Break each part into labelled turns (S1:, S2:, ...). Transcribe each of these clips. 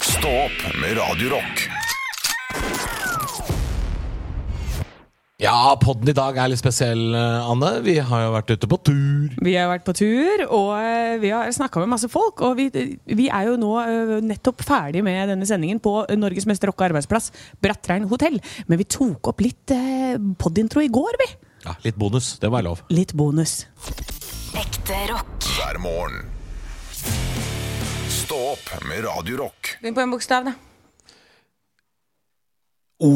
S1: Stå opp med Radio Rock.
S2: Ja, podden i dag er litt spesiell, eh, Anne. Vi har jo vært ute på tur.
S3: Vi har vært på tur, og eh, vi har snakka med masse folk. Og vi, vi er jo nå eh, nettopp ferdig med denne sendingen på Norges mest rocka arbeidsplass, Brattrein hotell. Men vi tok opp litt eh, podintro i går, vi.
S2: Ja, Litt bonus, det må være lov.
S3: Litt bonus.
S4: Ekte rock.
S1: Hver morgen. Stå opp med Radio Rock.
S5: Begynn på en bokstav, da.
S2: O.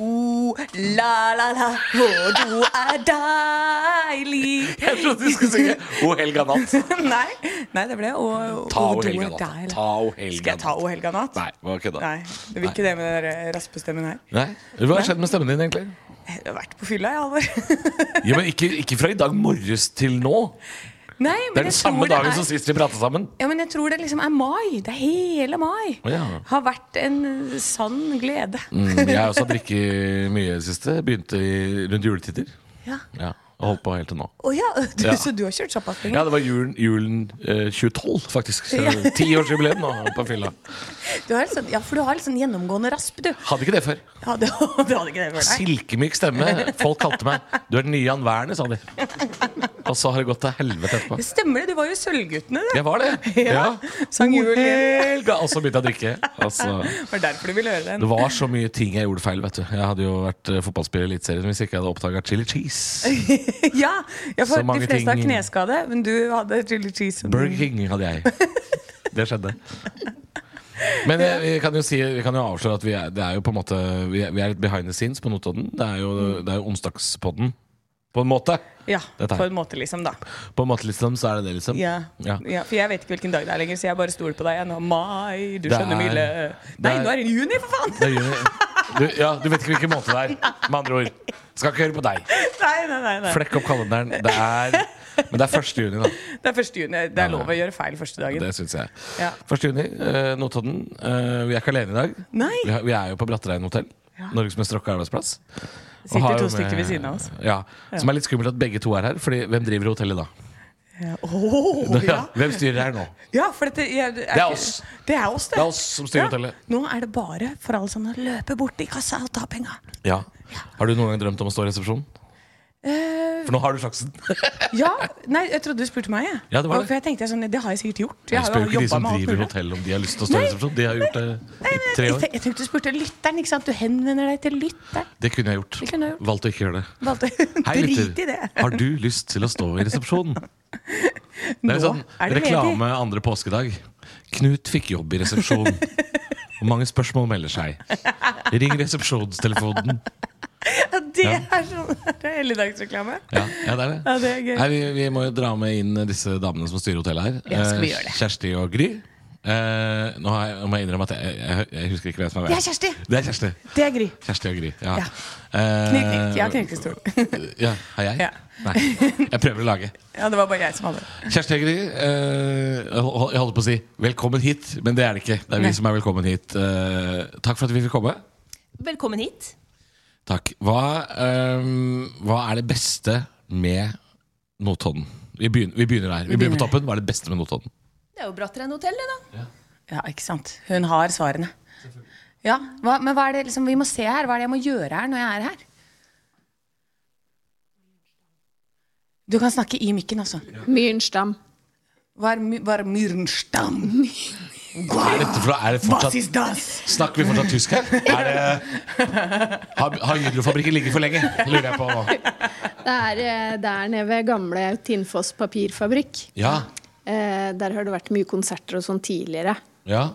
S5: O, la, la, la, og du er deilig.
S2: Jeg trodde du skulle synge O helga natt.
S5: Nei, nei, det ble O,
S2: Ta O
S5: du er
S2: helga natt.
S5: deilig.
S2: Ta O helga
S5: Skal jeg ta O
S2: natt.
S5: helga natt?
S2: Nei, hva kødda.
S5: Nei, det vil ikke det med den der eh, raspestemmen her.
S2: Nei. Hva har skjedd med stemmen din, egentlig?
S5: Jeg Eh, har vært på fylla, jeg, Halvor.
S2: Ja, men ikke, ikke fra i dag morges til nå.
S5: Nei, men
S2: Det er
S5: jeg
S2: den samme
S5: tror det
S2: dagen
S5: er-
S2: som sist vi pratet sammen.
S5: Ja, men jeg tror det liksom er mai. Det er hele mai.
S2: Å, ja.
S5: Har vært en eh, sann glede.
S2: Mm, jeg har også drikket mye i det siste. Begynte i, rundt juletider.
S5: Ja.
S2: Ja, og holdt på helt til nå.
S5: Å ja, du,
S2: Ja.
S5: så du har kjørt såpass lenge?
S2: Ja, det var julen, julen eh, 2012, faktisk. Så
S5: Ja.
S2: Tiårsjubileum nå på fylla.
S5: Du har litt sånn, ja, for du har litt sånn gjennomgående rasp, du.
S2: Hadde ikke det før.
S5: Ja, du, du hadde ikke det før, nei.
S2: Silkemyk stemme. Folk kalte meg 'Du er den nye Jan Werner', sa de. Og så har det gått til helvete etterpå.
S5: Det stemmer det, du var jo Sølvguttene, du.
S2: Jeg var det.
S5: Ja, sang
S2: O
S5: jul.
S2: helga, Og så begynte jeg å drikke. Og så-
S5: Det var derfor du ville høre den.
S2: det var så mye ting jeg gjorde feil. vet du Jeg hadde jo vært eh, fotballspiller i Eliteserien hvis ikke jeg hadde oppdaga chili cheese.
S5: ja, ja,
S2: Så
S5: for de
S2: mange
S5: fleste har
S2: ting-
S5: kneskade, men du hadde chili cheese. som-
S2: Burger King hadde jeg. Det skjedde. Men eh, vi kan jo, si, vi kan jo avsløre at vi er, det er jo på en måte Vi er, vi er litt behind the scenes på Notodden. Det er jo, det er jo onsdagspodden, på en måte.
S5: Ja,
S2: Dette her.
S5: på en måte, liksom, da.
S2: På en måte liksom, så er det det, liksom.
S5: Ja.
S2: Ja.
S5: Ja. For jeg vet ikke hvilken dag det er lenger, så jeg bare stoler på deg. Ja, nå er mai, du
S2: Det
S5: skjønner,
S2: er-
S5: Mille.
S2: det
S5: Nei,
S2: er-
S5: nå er det juni, for faen!
S2: Det gjør jeg. Du, ja, du vet ikke hvilken måte det er. Med andre ord. Skal ikke høre på deg.
S5: Nei, nei, nei, nei.
S2: Flekk opp kalenderen. Det er, men det er 1. juni, da.
S5: Det er første juni. Det er
S2: Nei,
S5: lov å
S2: nei.
S5: gjøre feil første dagen.
S2: Det syns jeg.
S5: Ja.
S2: 1. juni, eh, Notodden. Eh, vi er ikke alene i dag.
S5: Nei.
S2: Vi, har, vi er jo på Brattereien hotell. Norges mest rocka arbeidsplass. Og
S5: Sitter
S2: har
S5: to
S2: jo
S5: stykker ved siden av oss.
S2: Ja, Som er litt skummelt at begge to er her. Fordi hvem driver hotellet da?
S5: Ja. Åh, ja.
S2: Hvem styrer her nå?
S5: ja, for dette ja, det
S2: er
S5: ikke-
S2: oss.
S5: Det er oss, det.
S2: Det er oss som styrer
S5: Ja.
S2: hotellet.
S5: Nå er det bare for alle sammen å løpe bort til kassa og ta penga.
S2: Ja. Har du noen gang drømt om å stå i resepsjonen? For nå har du sjansen.
S5: Eh, Ja, nei, jeg trodde du spurte meg. jeg.
S2: Ja, det var
S5: Og
S2: det.
S5: For jeg tenkte sånn, det har jeg sikkert gjort.
S2: Jeg
S5: har
S2: spør jo ikke de
S5: jobbet
S2: som
S5: med alt
S2: driver
S5: mulig.
S2: hotell om de har lyst til å stå i resepsjon. De har gjort det i tre år.
S5: Jeg, jeg tenkte du spurte lytteren, ikke sant? Du henvender deg til lytteren.
S2: Det kunne jeg gjort.
S5: Det kunne jeg gjort.
S2: Valgte å ikke gjøre det.
S5: Valgte
S2: Hei,
S5: drit i
S2: lytter.
S5: det.
S2: Har du lyst til å stå i resepsjonen? Det er litt sånn
S5: er det ledig.
S2: reklame andre påskedag. Knut fikk jobb i resepsjonen. Og mange spørsmål melder seg. Ring resepsjonstelefonen.
S5: Ja, det er sånn det er helligdagsreklame.
S2: Ja, ja, det er det.
S5: Ja, det er gøy.
S2: Nei, vi, vi må jo dra med inn disse damene som styrer hotellet her.
S5: Ja, skal vi
S2: Eh,
S5: gjøre det?
S2: Kjersti og Gry. Eh, nå har jeg, nå må jeg innrømme at jeg, jeg, jeg husker ikke hvem som er hvem.
S5: Det er Kjersti.
S2: Det er Kjersti.
S5: Det er Gry.
S2: Kjersti og Gry. Ja.
S5: Ja.
S2: Eh,
S5: Knirk, knirk. Jeg har knirkestol.
S2: Ja, har jeg?
S5: Ja.
S2: Nei. Jeg prøver å lage.
S5: Ja, det var bare jeg som hadde det.
S2: Kjersti Egri, eh, jeg hol- jeg holdt på å si 'velkommen hit', men det er det ikke. Det er vi som er velkommen hit. Eh, takk for at vi fikk komme.
S6: Velkommen hit.
S2: Takk. Hva, eh, hva er det beste med Notodden? Vi begynner, vi begynner der. Vi begynner på toppen. Hva er det beste med Notodden?
S6: Det er jo Brattrein hotell, det, da.
S5: Ja, ikke sant. Hun har svarene. Ja, hva, Men hva er det liksom, vi må se her? Hva er det jeg må gjøre her når jeg er her? Du kan snakke i mikken, altså.
S7: Myrstam.
S5: Var, my- var Myrnstam?
S2: Er, dette fra, er det
S5: Was
S2: fortsatt,
S5: ist das?
S2: snakker vi fortsatt tysk her? Er det, har har Hydrofabrikken ligget for lenge? Lurer jeg på nå.
S7: Det er eh, der nede ved gamle Tinnfoss papirfabrikk.
S2: Ja.
S7: Eh, der har det vært mye konserter og sånn tidligere.
S2: ja.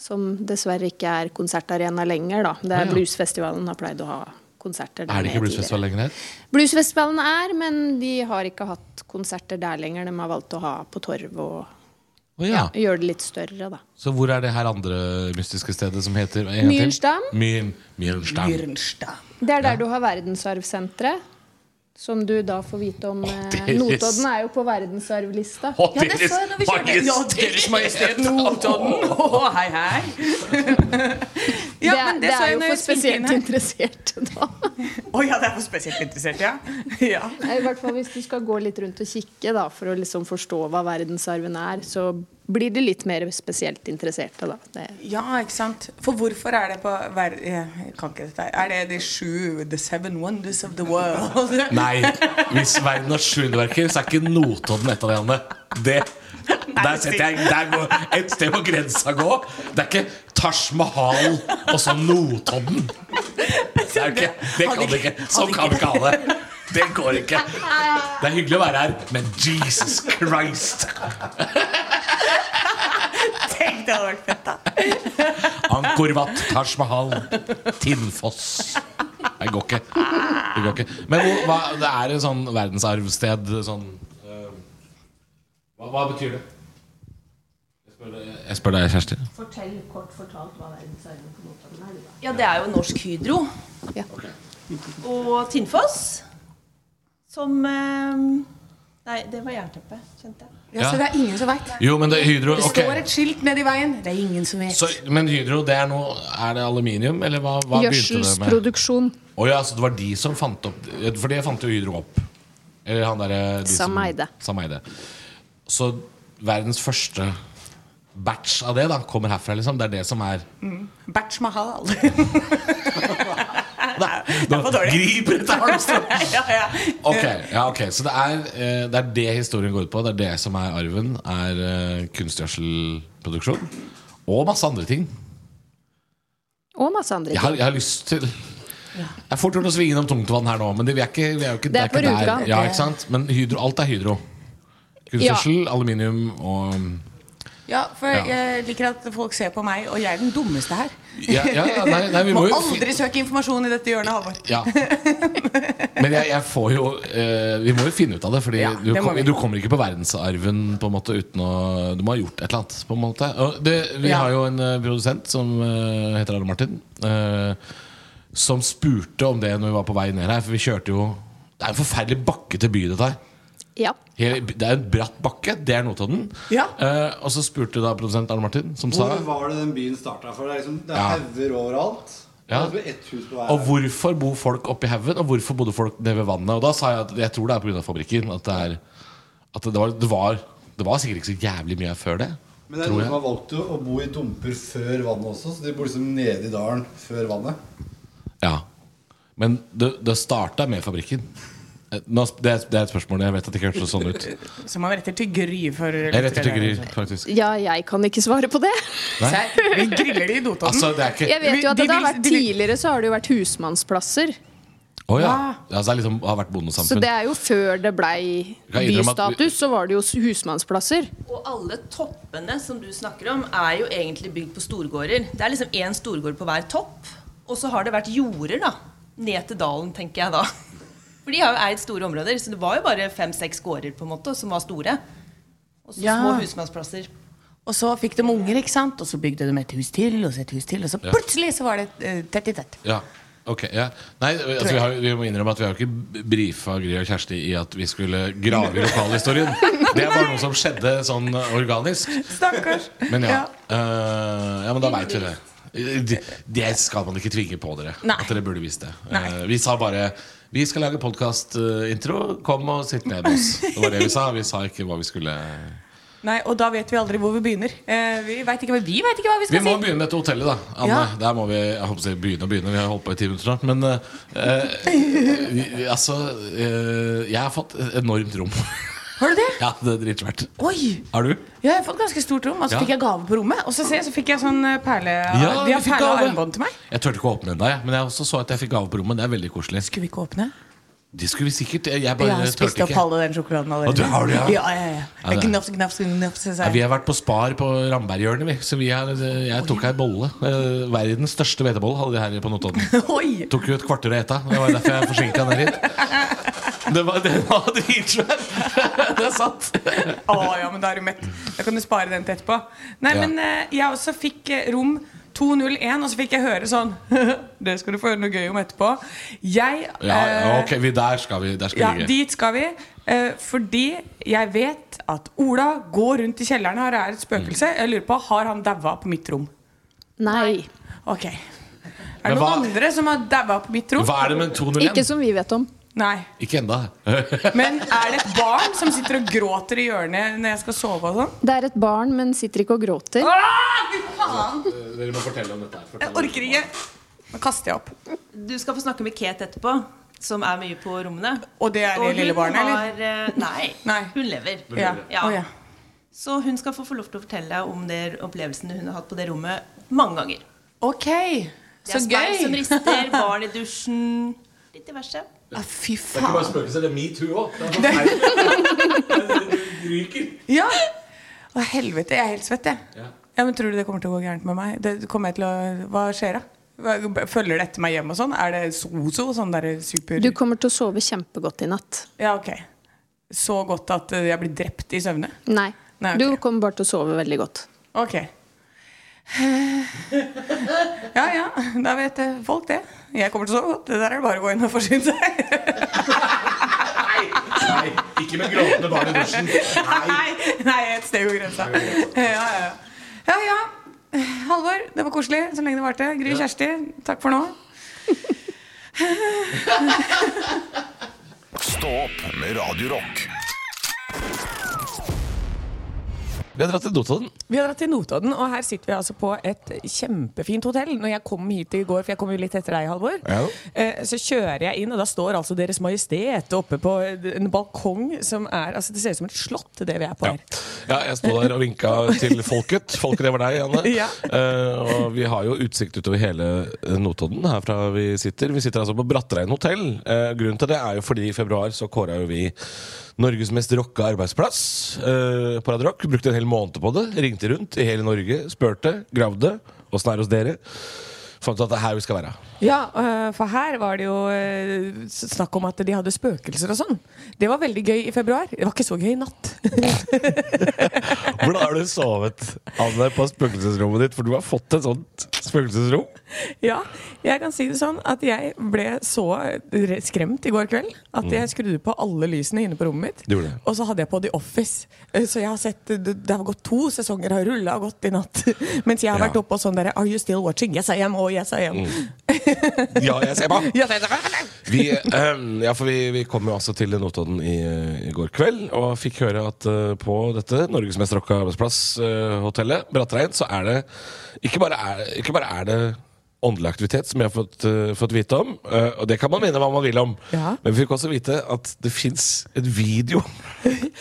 S7: Som dessverre ikke er konsertarena lenger, da. Det
S2: Ah, ja.
S7: er Bluesfestivalen har pleid å ha konserter der
S2: Er det ikke
S7: nede
S2: bluesfestival lenger her?
S7: tidligere. Bluesfestivalen er, men de har ikke hatt konserter der lenger. De har valgt å ha på torv og
S2: Å ja.
S7: gjøre det litt større, da.
S2: Så hvor er det her andre mystiske stedet som heter en gang til?
S7: Myrnstam?
S2: Myr, Myrnstam.
S5: Myrnstam.
S7: Det er der du har verdensarvsenteret. Som du da får vite om. eh,
S2: det er-
S7: Notodden er jo på verdensarvlista.
S2: Å,
S5: Ja, det
S2: Deres
S5: så jeg når vi kjørte. Ja, Deres Majestet Notodden! Å, hei, hei. Ja,
S7: det,
S5: men det
S7: det
S5: så
S7: er
S5: jeg
S7: jo
S5: når jeg
S7: for
S5: spilte inn
S7: spesielt
S5: her.
S7: interesserte, da.
S5: Å ja, det er for spesielt interessert, ja. ja.
S7: Nei, I hvert fall hvis du skal gå litt rundt og kikke da, for å liksom forstå hva verdensarven er, så blir de litt mer spesielt interesserte. Da. Det,
S5: Ja, ikke sant. For hvorfor er det på hver Jeg kan ikke dette. her. Er det de sju The seven wonders of the world?
S2: Nei, hvis verden har sju underverker, så er ikke Notodden et av de andre. Det, der setter jeg der går, Et sted må grensa gå. Det er ikke Taj Mahal og så Notodden. Det, er ikke, det kan vi ikke. Sånn kan vi ikke ha det. Det går ikke. Det er hyggelig å være her, men Jesus Christ!
S5: Tenk, det hadde vært fett, da.
S2: Ankorvat, Taj Mahal, Tinnfoss. Det går ikke. Det går ikke. Men hvor, hva, det er et sånn verdensarvsted sånn eh, hva, hva betyr det? Jeg spør, deg- jeg spør deg, Kjersti.
S7: Fortell kort fortalt hva verdensarven på Notodden er.
S6: Ja, det er jo Norsk Hydro.
S7: Ja.
S6: Og Tinnfoss. Som eh, Nei, det var jernteppe, kjente jeg.
S5: Ja, Så det er ingen som veit.
S2: Jo, men det er Hydro.
S5: Det
S2: ok.
S5: står et skilt nedi veien. Det er ingen som vet.
S2: Så, men Hydro, det er noe Er det aluminium, eller hva, hva begynte det med?
S7: Gjødselsproduksjon
S2: Å ja, så det var de som fant opp For det fant jo Hydro opp. Eller han derre de som-
S7: Sam Eide.
S2: Sam Eide. Så verdens første batch av det da kommer herfra, liksom. Det er det som er
S5: Mm. Batch Mahal.
S2: Nå
S5: for dårlig.
S2: griper jeg til halmstrå!
S5: ja, ja. Eh,
S2: Ok, ja, ok, Så det er, eh, det er det historien går ut på. Det er det som er arven. Er eh, kunstgjødselproduksjon. Og masse andre ting.
S7: og masse andre
S2: Jeg
S7: ting.
S2: har, jeg har lyst til Jeg er fort gjort å svinge innom tungtvann her nå, men det, vi er ikke, vi er jo ikke,
S7: Det er
S2: ikke
S7: på
S2: der.
S7: Rjukan.
S2: Ja, ikke sant? Men hydro, alt er hydro. Kunstgjødsel, aluminium og
S5: ja, for
S2: Ja.
S5: jeg liker at folk ser på meg, og jeg er den dummeste her.
S2: Ja, ja nei, nei, vi
S5: Må
S2: må jo
S5: aldri søke informasjon i dette hjørnet, Halvor.
S2: ja. Men jeg, jeg får jo eh, Vi må jo finne ut av det. Fordi
S5: Ja,
S2: du,
S5: det må
S2: kom,
S5: vi.
S2: du kommer ikke på verdensarven På en måte uten å Du må ha gjort et eller annet. På en måte og det, Vi
S5: Ja.
S2: har jo en eh, produsent som eh, heter Arne Martin. eh, som spurte om det når vi var på vei ned her. For vi kjørte jo Det er en forferdelig bakke til by, dette her.
S7: Ja.
S2: Hele- Det er en bratt bakke. Det er Notodden.
S5: Ja.
S2: Eh, og så spurte da produsent Arne Martin, som sa
S8: Hvor var det den byen starta? For det er liksom, det er
S2: Ja.
S8: hauger overalt.
S2: Ja.
S8: Det er liksom ett hus på hver
S2: Og hvorfor bor folk oppi haugen, og hvorfor bodde folk nede ved vannet? Og da sa jeg at jeg tror det er pga. fabrikken. At, det, er, at det, var, det, var, det var sikkert ikke så jævlig mye før det.
S8: Men det er
S2: tror
S8: noen
S2: jeg.
S8: som har valgt å å bo i dumper før vannet også, så de bor liksom nede i dalen før vannet.
S2: Ja. Men det, det starta med fabrikken. Eh, Nå, sp- det, er, det er et spørsmål. Jeg vet at det ikke hørtes sånn ut.
S5: Eh, Så man retter til Gry for
S2: Jeg retter til Gry, faktisk.
S7: ja, jeg kan ikke svare på det.
S5: Serr, Vi griller de i Notodden.
S2: Altså, det er ikke
S7: Jeg vet jo at
S5: De
S7: det har
S5: vil-
S7: vært
S5: de vil-
S7: Tidligere så har det jo vært husmannsplasser.
S2: Å ja. Altså, det er liksom, har vært
S7: Så
S2: bondesamfunn.
S7: det er jo før det blei
S2: kan innrømme at vi-
S7: bystatus, så var det jo husmannsplasser.
S6: Og alle toppene som du snakker om, er jo egentlig bygd på storgårder. Det er liksom én storgård på hver topp. Og så har det vært jorder, da. Ned til dalen, tenker jeg da. For de har jo eid store områder, så det var jo bare fem-seks gårder på en måte som var store. Og så
S5: Ja.
S6: små husmannsplasser.
S5: Og så fikk de unger, ikke sant? Og så bygde de et hus til, og så et hus til, og så plutselig så var det eh, tett i tett.
S2: Ja, ok ja. Nei, altså, vi, har, vi må innrømme at vi har jo ikke brifa Gry og Kjersti i at vi skulle grave i lokalhistorien. Det var noe som skjedde sånn organisk.
S5: Stakkars.
S2: Men ja, eh, ja men da veit vi det. Det- Det skal man ikke tvinge på dere.
S5: Nei.
S2: At dere burde visst det. Eh, vi sa bare vi skal lage podkastintro. Kom og sitt ned med oss. Det var det vi sa. Vi sa ikke hva vi skulle
S5: Nei, og da vet vi aldri hvor vi begynner. Eh, vi veit ikke, hva- vi vet ikke hva vi
S2: Vi
S5: skal
S2: må
S5: si.
S2: begynne med dette hotellet, da. Anne,
S5: Ja.
S2: der må vi jeg håper å si, begynne og begynne. Vi har holdt på i ti minutter snart. Men eh, eh, altså eh, Jeg har fått et enormt rom.
S5: Har du det?
S2: ja, det er dritsvært.
S5: Oi!
S2: Har du?
S5: Ja, jeg har fått ganske stort rom. Og så
S2: Ja.
S5: fikk jeg gave på rommet. Og så, ser jeg, så fikk jeg sånn eh, perle...
S2: Ja,
S5: de har
S2: vi fikk
S5: perle
S2: gave.
S5: armbånd til meg.
S2: Jeg turte ikke å åpne ennå, jeg. Men jeg også så at jeg fikk gave på rommet. Det er veldig koselig.
S5: Skulle vi ikke åpne?
S2: De skulle vi sikkert Jeg
S5: Jeg
S2: bare
S5: har spist
S2: turte
S5: opp
S2: ikke.
S5: halve den sjokoladen
S2: Og du
S5: allerede.
S2: har det, ja?
S5: Ja, ja, ja.
S2: Ja, det er-
S5: Gnafs, gnafs, gnafs. sa
S2: Nei,
S5: jeg.
S2: vi har vært på Spar på Ramberghjørnet, vi. Så vi er, jeg tok ei bolle. Eh, Verdens største hvetebolle hadde de her på Notodden.
S5: Oi!
S2: Tok jo et kvarter å ete. Det var derfor jeg forsinka ned hit. Det var, det var dritsvær! Det er sant.
S5: Å ja, men da er du mett. Da kan du spare den til etterpå. Nei,
S2: Ja.
S5: men eh, jeg også fikk eh, rom 201, og så fikk jeg høre sånn Det skal du få høre noe gøy om etterpå. Jeg
S2: Ja,
S5: eh,
S2: ok, vi, der skal vi, der skal
S5: ja,
S2: vi ligge.
S5: dit skal vi. eh, fordi jeg vet at Ola går rundt i
S2: Mm.
S5: kjelleren her og er et spøkelse. Jeg lurer på, Har han daua på mitt rom?
S7: Nei.
S5: Ok.
S9: Er det
S2: Men
S9: noen
S2: hva-
S9: andre som har daua på mitt rom?
S2: Hva er det med 201?
S7: Ikke som vi vet om.
S9: Nei.
S2: Ikke enda
S9: Men er det et barn som sitter og gråter i hjørnet når jeg skal sove og sånn?
S7: Det er et barn, men sitter ikke og gråter.
S9: Ah, fy faen!
S2: Eh, Dere må fortelle om dette
S9: Jeg orker ikke. Nå kaster jeg opp.
S6: Du skal få snakke med Kate etterpå, som er mye på rommene.
S9: Og det er det lille barnet, eller?
S6: har eh, Nei,
S9: Nei.
S6: hun lever.
S9: Ja.
S6: Ja.
S9: Å, ja.
S6: Så hun skal få få lov til å fortelle om de opplevelsene hun har hatt på det rommet mange ganger.
S9: Ok.
S6: Det
S9: Så
S6: er speil som
S9: gøy.
S6: rister, barn i dusjen, litt diverse.
S9: Ah, fy
S2: Det er ikke
S9: faen.
S2: bare spøkelser, det er metoo òg. Det er forferdelig. Du ryker.
S9: Ja. Å, helvete. Jeg er helt svett, jeg.
S2: Ja.
S9: Ja, men Tror du det kommer til å gå gærent med meg? Det kommer jeg til å, Hva skjer da? Hva- Følger det etter meg hjem og sånn? Er det so-so? Sånn derre super
S7: Du kommer til å sove kjempegodt i natt.
S9: Ja, ok. Så godt at eh, jeg blir drept i søvne?
S7: Nei.
S9: Nei, ok.
S7: Du kommer bare til å sove veldig godt.
S9: Ok. Ja ja, da vet eh, folk det. Jeg kommer til å sove godt. Det der er det bare å gå inn og forsyne seg.
S2: Nei, ikke med gråtende barn i dusjen. Nei.
S9: Nei, nei et sted går grensa. Ja ja. ja, ja. Halvor, det var koselig så lenge det varte. Gry Kjersti, takk for nå.
S1: Stå opp med Radio Rock.
S2: Vi har dratt til Notodden.
S5: Vi har dratt til Notodden, og her sitter vi altså på et kjempefint hotell. Når jeg kom hit i går, for jeg kom jo litt etter deg, Halvor,
S2: Ja.
S5: eh, så kjører jeg inn, og da står altså Deres Majestet oppe på en balkong som er Altså, det ser ut som et slott, det vi er på
S2: Ja.
S5: her.
S2: ja, jeg sto der og vinka til folket. Folket, det var deg, Janne.
S5: Ja.
S2: Eh, og vi har jo utsikt utover hele eh, Notodden herfra vi sitter. Vi sitter altså på Brattrein hotell. Eh, grunnen til det er jo fordi i februar så kåra jo vi Norges mest rocka arbeidsplass eh, på Radio Rock. Brukte en hel måned på det. Ringte rundt i hele Norge, spurte, gravde. Åssen er det hos dere? Fant ut at det er her vi skal være.
S5: Ja, øh, for her var det jo øh, s- snakk om at de hadde spøkelser og sånn. Det var veldig gøy i februar. Det var ikke så gøy i natt.
S2: Hvordan har du sovet, Anne, på spøkelsesrommet ditt? For du har fått et sånt spøkelsesrom.
S5: ja, jeg kan si det sånn at jeg ble så re- skremt i går kveld at
S2: Mm.
S5: jeg skrudde på alle lysene inne på rommet mitt.
S2: Du gjorde det.
S5: Og så hadde jeg på The Office. Eh, Så jeg har sett Det det har gått to sesonger, har rulla godt i natt. Mens jeg har
S2: Ja.
S5: vært oppe og sånn derre Are you still watching? Yes I am, oh yes I am.
S2: Ja, jeg ser på!
S5: Yes, I am.
S2: Vi, ehm, ja, for vi, vi kom jo altså til Notodden i, eh, i går kveld og fikk høre at eh, på dette Norges mest rocka arbeidsplass-hotellet, Brattrein, så er det ikke bare er, ikke bare er det åndelig aktivitet, som jeg har fått, eh, fått vite om, eh, og det kan man mene hva man vil om,
S5: Ja.
S2: men vi fikk også vite at det fins en video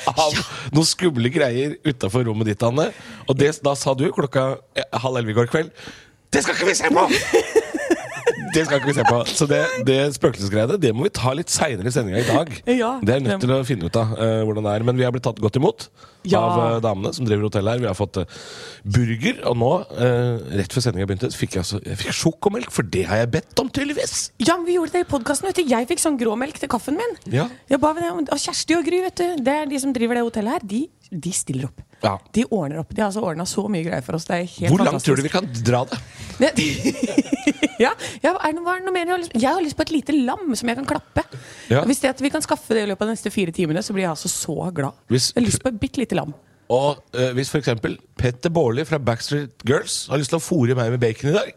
S2: av noen skumle greier utafor rommet ditt, Anne, og det, da sa du klokka eh, halv elleve i går kveld Det skal ikke vi se på! Det skal ikke vi se på. Så det, det spøkelsesgreiene det må vi ta litt seinere i sendinga i dag.
S5: Ja,
S2: det er vi nødt
S5: det-
S2: til å finne ut av eh, hvordan det er. Men vi har blitt tatt godt imot
S5: Ja.
S2: av eh, damene som driver hotellet her. Vi har fått eh, burger, og nå, eh, rett før sendinga begynte, så fikk jeg, altså, jeg fikk sjokomelk, for det har jeg bedt om, tydeligvis!
S5: Ja, men vi gjorde det i podkasten. Jeg fikk sånn gråmelk til kaffen min.
S2: Ja.
S5: Jeg ba henne om- og Kjersti og Gry, vet du, det er de som driver det hotellet her, de, de stiller opp.
S2: Ja.
S5: De ordner opp. De har altså ordna så mye greier for oss. Det er helt
S2: Hvor langt tror du vi kan dra det?
S5: ja, ja, er det noe, hva er det noe mer? Jeg har, lyst, jeg har lyst på et lite lam som jeg kan klappe.
S2: Ja.
S5: Og Hvis det at vi kan skaffe det i løpet av de neste fire timene, så blir jeg altså så glad.
S2: Hvis-
S5: Jeg har lyst på et bitte lite lam.
S2: Og eh, hvis f.eks. Petter Baarli fra Backstreet Girls har lyst til å fòre meg med bacon i dag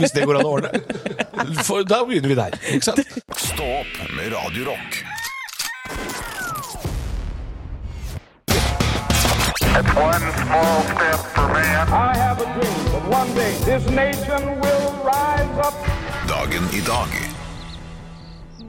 S2: Hvis det går an å ordne. For, da begynner vi der. Ikke sant?
S1: Stå opp med Radio Rock.
S10: One small step for man. I have a dream that one day this nation will rise up.
S1: Dagen i dag.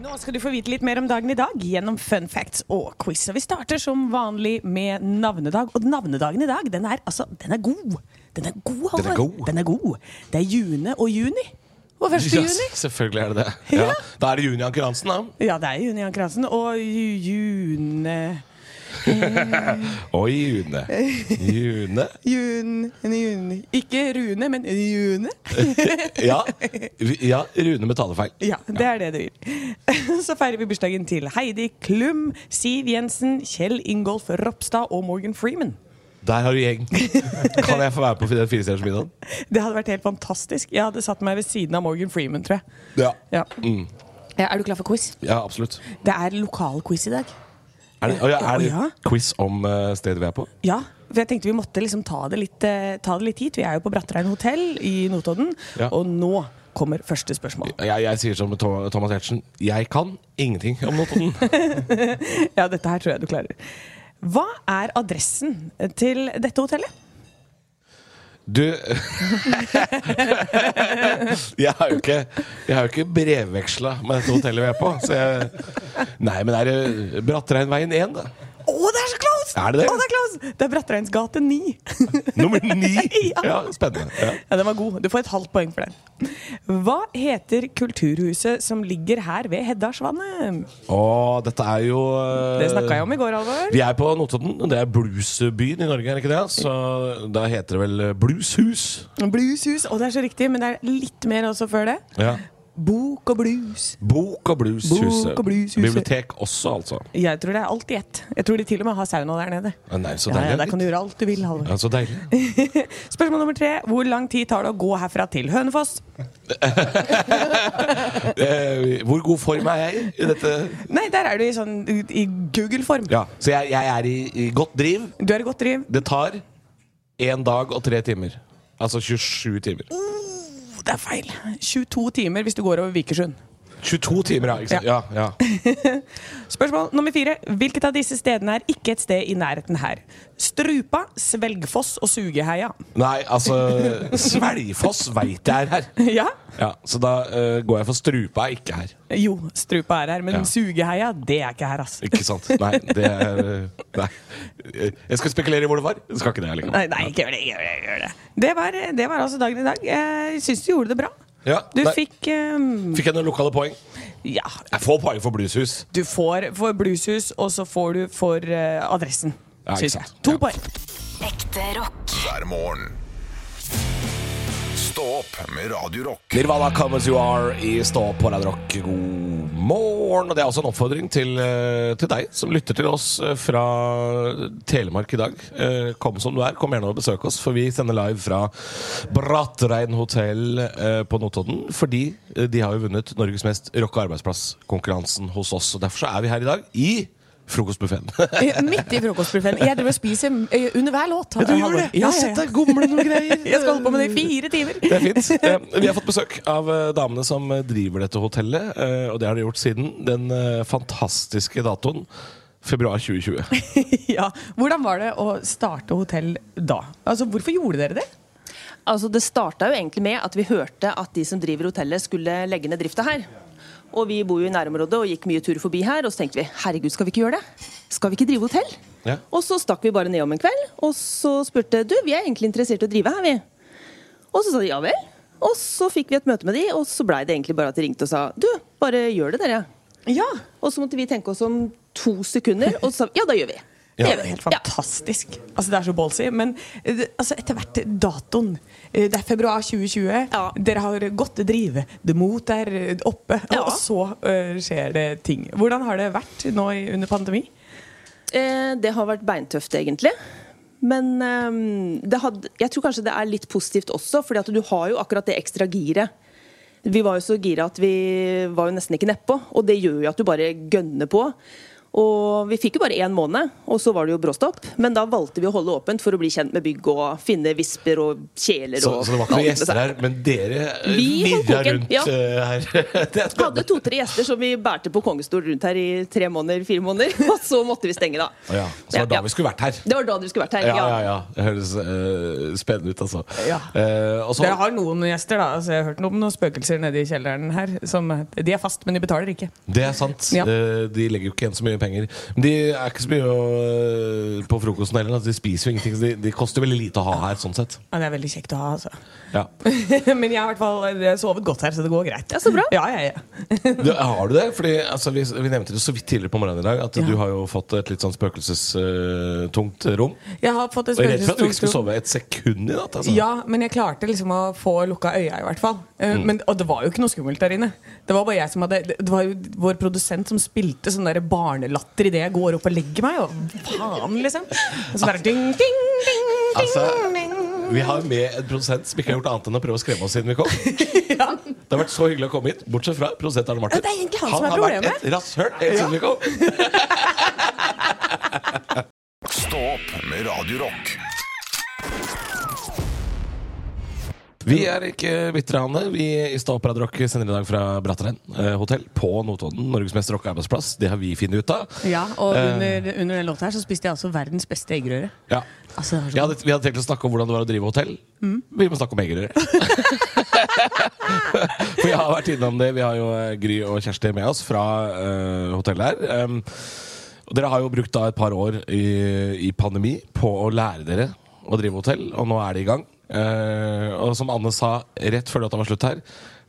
S5: Nå skal du få vite litt mer om dagen i dag gjennom fun facts og quiz. Og vi starter som vanlig med navnedag. Og navnedagen i dag, den er, altså, den er god. Den er god, Halvor.
S2: Den er god.
S5: Den er god. Det er June og Juni. Og første
S2: Ja,
S5: juni. Eh.
S2: Selvfølgelig er det det. Ja. Da er det Juni Anker Hansen, da.
S5: Ja, det er Juni Jan Kransen. Og ju- June
S2: Oi, June. June.
S5: Jun, jun. Ikke Rune, men June.
S2: Ja, vi- ja Rune med talefeil.
S5: Ja, det er det det vil. Så feirer vi bursdagen til Heidi Klum, Siv Jensen, Kjell Ingolf Ropstad og Morgan Freeman.
S2: Der har du gjeng. Kan jeg få være på den firestjerners middagen?
S5: Det hadde vært helt fantastisk. Jeg hadde satt meg ved siden av Morgan Freeman, tror jeg.
S2: Ja.
S5: Ja. Ja, Er du klar for quiz?
S2: Mm. ja, absolutt.
S5: Det er lokalquiz i dag.
S2: Er det, å ja, er
S5: Å, ja.
S2: det quiz om eh, stedet vi er på?
S5: Ja, for jeg tenkte vi måtte liksom ta det litt, eh, ta det litt hit. Vi er jo på Brattrein hotell i Notodden.
S2: Ja.
S5: Og nå kommer første spørsmål.
S2: Jeg, jeg sier som Tho- Thomas Hertzen, jeg kan ingenting om Notodden.
S5: Ja, dette her tror jeg du klarer. Hva er adressen til dette hotellet?
S2: Du Jeg har jo ikke, jeg har jo ikke brevveksla med dette hotellet vi er på. Så jeg, nei, men er det Brattregnveien 1, da?
S5: Å, det er så close!
S2: Er det det?
S5: Å, det er close! Det er Brattreinsgate 9.
S2: Nummer 9?
S5: Ja.
S2: Ja, spennende. Ja.
S5: Ja, den var god. Du får et halvt poeng for den. Hva heter kulturhuset som ligger her ved Heddalsvannet?
S2: Og dette er jo eh,
S5: Det snakka jeg om i går, Alvor.
S2: Vi er på Notodden. og Det er bluesbyen i Norge, er det ikke det? Så da heter det vel eh, Blueshus.
S5: Blueshus. Å, det er så riktig, men det er litt mer også før det.
S2: Ja.
S5: Bok og blues.
S2: Bok og blueshuset.
S5: Bok og Blueshuset.
S2: Bibliotek også, altså.
S5: Jeg tror det er alt i ett. Jeg tror de til og med har sauna der nede.
S2: Ja, Nei, så
S5: Ja, ja, der
S2: deilig.
S5: kan du gjøre alt du vil, Halvor.
S2: Ja, så deilig.
S5: Spørsmål nummer tre. Hvor lang tid tar det å gå herfra til Hønefoss?
S2: Eh, hvor god form er jeg i dette?
S5: Nei, der er du i sånn i Google-form.
S2: Ja, Så jeg, jeg er i, i godt driv.
S5: Du er i godt driv.
S2: Det tar én dag og tre timer. Altså 27 timer.
S5: Oh, Det er feil. 22 timer hvis du går over Vikersund.
S2: 22 timer, ja. Ikke sant? Ja, ja.
S5: Spørsmål nummer fire. Hvilket av disse stedene er ikke et sted i nærheten her? Strupa, Svelgfoss og Sugeheia.
S2: Nei, altså Svelgfoss veit jeg er her.
S5: Ja?
S2: Ja, Så da eh, går jeg for strupa er ikke her.
S5: Jo, Strupa er her, men
S2: Ja.
S5: Sugeheia, det er ikke her, altså. ass.
S2: Ikke sant? Nei, det er eh, Nei. Jeg skal spekulere i hvor det var. Jeg liksom. skal ikke det allikevel.
S5: Nei, nei, ikke gjør det. ikke gjør Det ikke gjør det. Det var, det var altså dagen i dag. Jeg syns du gjorde det bra.
S2: Ja,
S5: Du
S2: nei.
S5: fikk eh,
S2: Fikk jeg noen lokale poeng?
S5: Ja,
S2: Jeg får poeng for blueshus.
S5: du får for blueshus, og så får du for eh, adressen.
S2: Ja, ikke
S5: synes jeg.
S2: sant.
S5: To
S2: Ja.
S5: poeng.
S4: Ekte rock.
S1: hver morgen. Stå opp med Radio Rock.
S2: Nirvana Come As You Are i Stå opp på Radio Rock. God morgen. Og det er også en oppfordring til, eh, til deg som lytter til oss eh, fra Telemark i dag. Eh, Kom som du er. Kom gjerne og besøk oss, for vi sender live fra Brattrein hotell eh, på Notodden. Fordi eh, de har jo vunnet Norges mest rocke arbeidsplass-konkurransen hos oss. Og derfor så er vi her i dag i frokostbuffeen.
S5: Eh, Midt i frokostbuffeten. Jeg driver og spiser eh, under hver låt.
S2: du gjør
S5: Halvor.
S2: det? Jeg har sett deg gomle noen greier.
S5: Jeg skal holde på med det i fire timer.
S2: Det er fint. Eh, Vi har fått besøk av eh, damene som eh, driver dette hotellet. eh, Og det har de gjort siden den eh, fantastiske datoen februar 2020.
S5: Ja. Hvordan var det å starte hotell da? Altså, Hvorfor gjorde dere det?
S6: Altså, det starta jo egentlig med at vi hørte at de som driver hotellet, skulle legge ned drifta her. Og vi bor jo i nærområdet og gikk mye tur forbi her, og så tenkte vi herregud, skal vi ikke gjøre det? Skal vi ikke drive hotell?
S2: Ja.
S6: Og så stakk vi bare ned om en kveld, og så spurte du, vi er egentlig interessert i å drive her, vi. Og så sa de ja vel. Og så fikk vi et møte med de, og så blei det egentlig bare at de ringte og sa du, bare gjør det, dere.
S5: Ja,
S6: Og så måtte vi tenke oss om to sekunder, og så sa vi ja, da gjør vi. Det
S2: Ja.
S6: gjør vi.
S5: Helt fantastisk. Altså, Det er så ballsy. Men eh, det- altså, etter hvert datoen eh, Det er februar 2020.
S6: Ja.
S5: Dere har godt drive. Det mot er eh, oppe.
S6: Ja.
S5: Og så eh, skjer det ting. Hvordan har det vært nå i- under pandemi?
S6: Eh, det har vært beintøft, egentlig. Men ehm, det hadde, jeg tror kanskje det er litt positivt også, fordi at du har jo akkurat det ekstra giret. Vi var jo så gira at vi var jo nesten ikke nedpå, og det gjør jo at du bare gønner på. Og Vi fikk jo bare én måned, og så var det jo bråstopp. Men da valgte vi å holde åpent for å bli kjent med bygg og finne visper og kjeler.
S2: Så,
S6: og
S2: så det var ikke noen
S6: alt med seg.
S2: gjester her, men dere eh,
S6: Vi holdt
S2: virra
S6: koken,
S2: rundt
S6: ja.
S2: eh, her. Det er
S6: Vi hadde
S2: spennende.
S6: to-tre gjester som vi bærte på kongestol rundt her i tre måneder, fire måneder. Og så måtte vi stenge, da.
S2: Å Ja, så det var da vi skulle vært her.
S6: Det var da dere skulle vært her.
S2: Ja, ja, ja. Det høres eh, spennende ut, altså.
S5: Ja.
S2: Eh, og så-
S5: Dere har noen gjester, da. Altså, jeg har hørt noe om noen spøkelser nede i kjelleren her. Som, de er fast, men de betaler ikke.
S2: Det er sant.
S5: Ja.
S2: Eh, De legger jo ikke igjen så mye penger. Men de er ikke så mye å, eh, på frokosten heller. altså, De spiser jo ingenting. Så de, de koster veldig lite å ha her, sånn sett.
S5: Ja, det er veldig kjekt å ha, altså.
S2: Ja.
S5: men jeg har i hvert fall eh, jeg har sovet godt her, så det går greit.
S6: Ja, så bra.
S5: Ja, ja, ja.
S2: Du, har du det? Fordi altså, vi, vi nevnte det så vidt tidligere på morgenen i dag at
S5: Ja.
S2: du har jo fått et litt sånn spøkelsestungt rom.
S5: Jeg har fått et
S2: Og jeg er redd for at du ikke
S5: spøkelsestungt
S2: skulle sove et sekund i natt. Altså.
S5: Ja, men jeg klarte liksom å få lukka øya, i hvert fall. Eh,
S2: Mm.
S5: Men, og det var jo ikke noe skummelt der inne. Det var bare jeg som hadde Det var jo vår produsent som spilte sånn der barnelatter idet jeg går opp og legger meg. Og faen, liksom. Og så bare ding, ding, ding, ding,
S2: Altså-
S5: ding.
S2: Vi har med en produsent som ikke har gjort annet enn å prøve å skremme oss siden vi kom. Det har vært så hyggelig å komme hit, bortsett fra produsent Arne Martin.
S5: Ja, det er egentlig han som er
S2: har vært
S5: problemet.
S2: et rasshøl helt siden vi kom.
S1: Stå opp med Radio Rock.
S2: Vi er ikke bitre, Hanne. Vi i Stå opp Radio Rock sender i dag fra Bratteren eh, hotell på Notodden. Norges mest rocka arbeidsplass. Det har vi funnet ut av.
S5: Ja, og
S2: Eh.
S5: under, under den låta her så spiste jeg altså verdens beste eggerøre.
S2: Ja.
S5: Altså, det var så
S2: Jeg hadde, vi hadde tenkt å snakke om hvordan det var å drive hotell.
S5: Mm.
S2: Vi må snakke om eggerøre. For jeg har vært innom det. Vi har jo eh, Gry og Kjersti med oss fra eh, hotellet her. Um, og dere har jo brukt da et par år i, i pandemi på å lære dere å drive hotell, og nå er det i gang. Eh, og som Anne sa rett før låta var slutt her,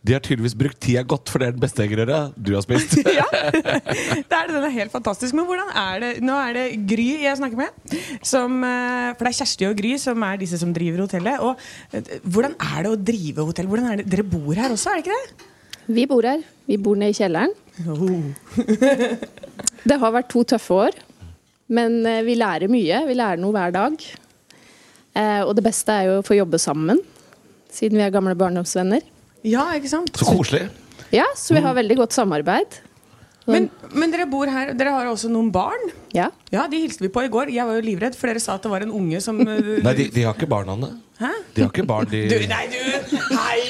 S2: de har tydeligvis brukt tida godt, for det er den beste eggerøra du har spist.
S5: ja. det er det. Den er helt fantastisk. Men hvordan er det Nå er det Gry jeg snakker med. Som, eh, for det er Kjersti og Gry som er disse som driver hotellet. Og eh, hvordan er det å drive hotell? Hvordan er det? Dere bor her også, er det ikke det?
S7: Vi bor her. Vi bor nede i kjelleren. Det har vært to tøffe år, men eh, vi lærer mye. Vi lærer noe hver dag. Eh, Og det beste er jo å få jobbe sammen, siden vi er gamle barndomsvenner.
S5: Ja, ikke sant?
S2: Så koselig.
S7: Ja, så vi har veldig godt samarbeid.
S5: Men, men dere bor her. Dere har også noen barn.
S7: Ja.
S5: Ja, De hilste vi på i går. Jeg var jo livredd, for dere sa at det var en unge som eh,
S2: Nei, de, de har ikke barn, Anne.
S5: Hæ?
S2: De har ikke barn, de
S5: Du, nei, du! Hei!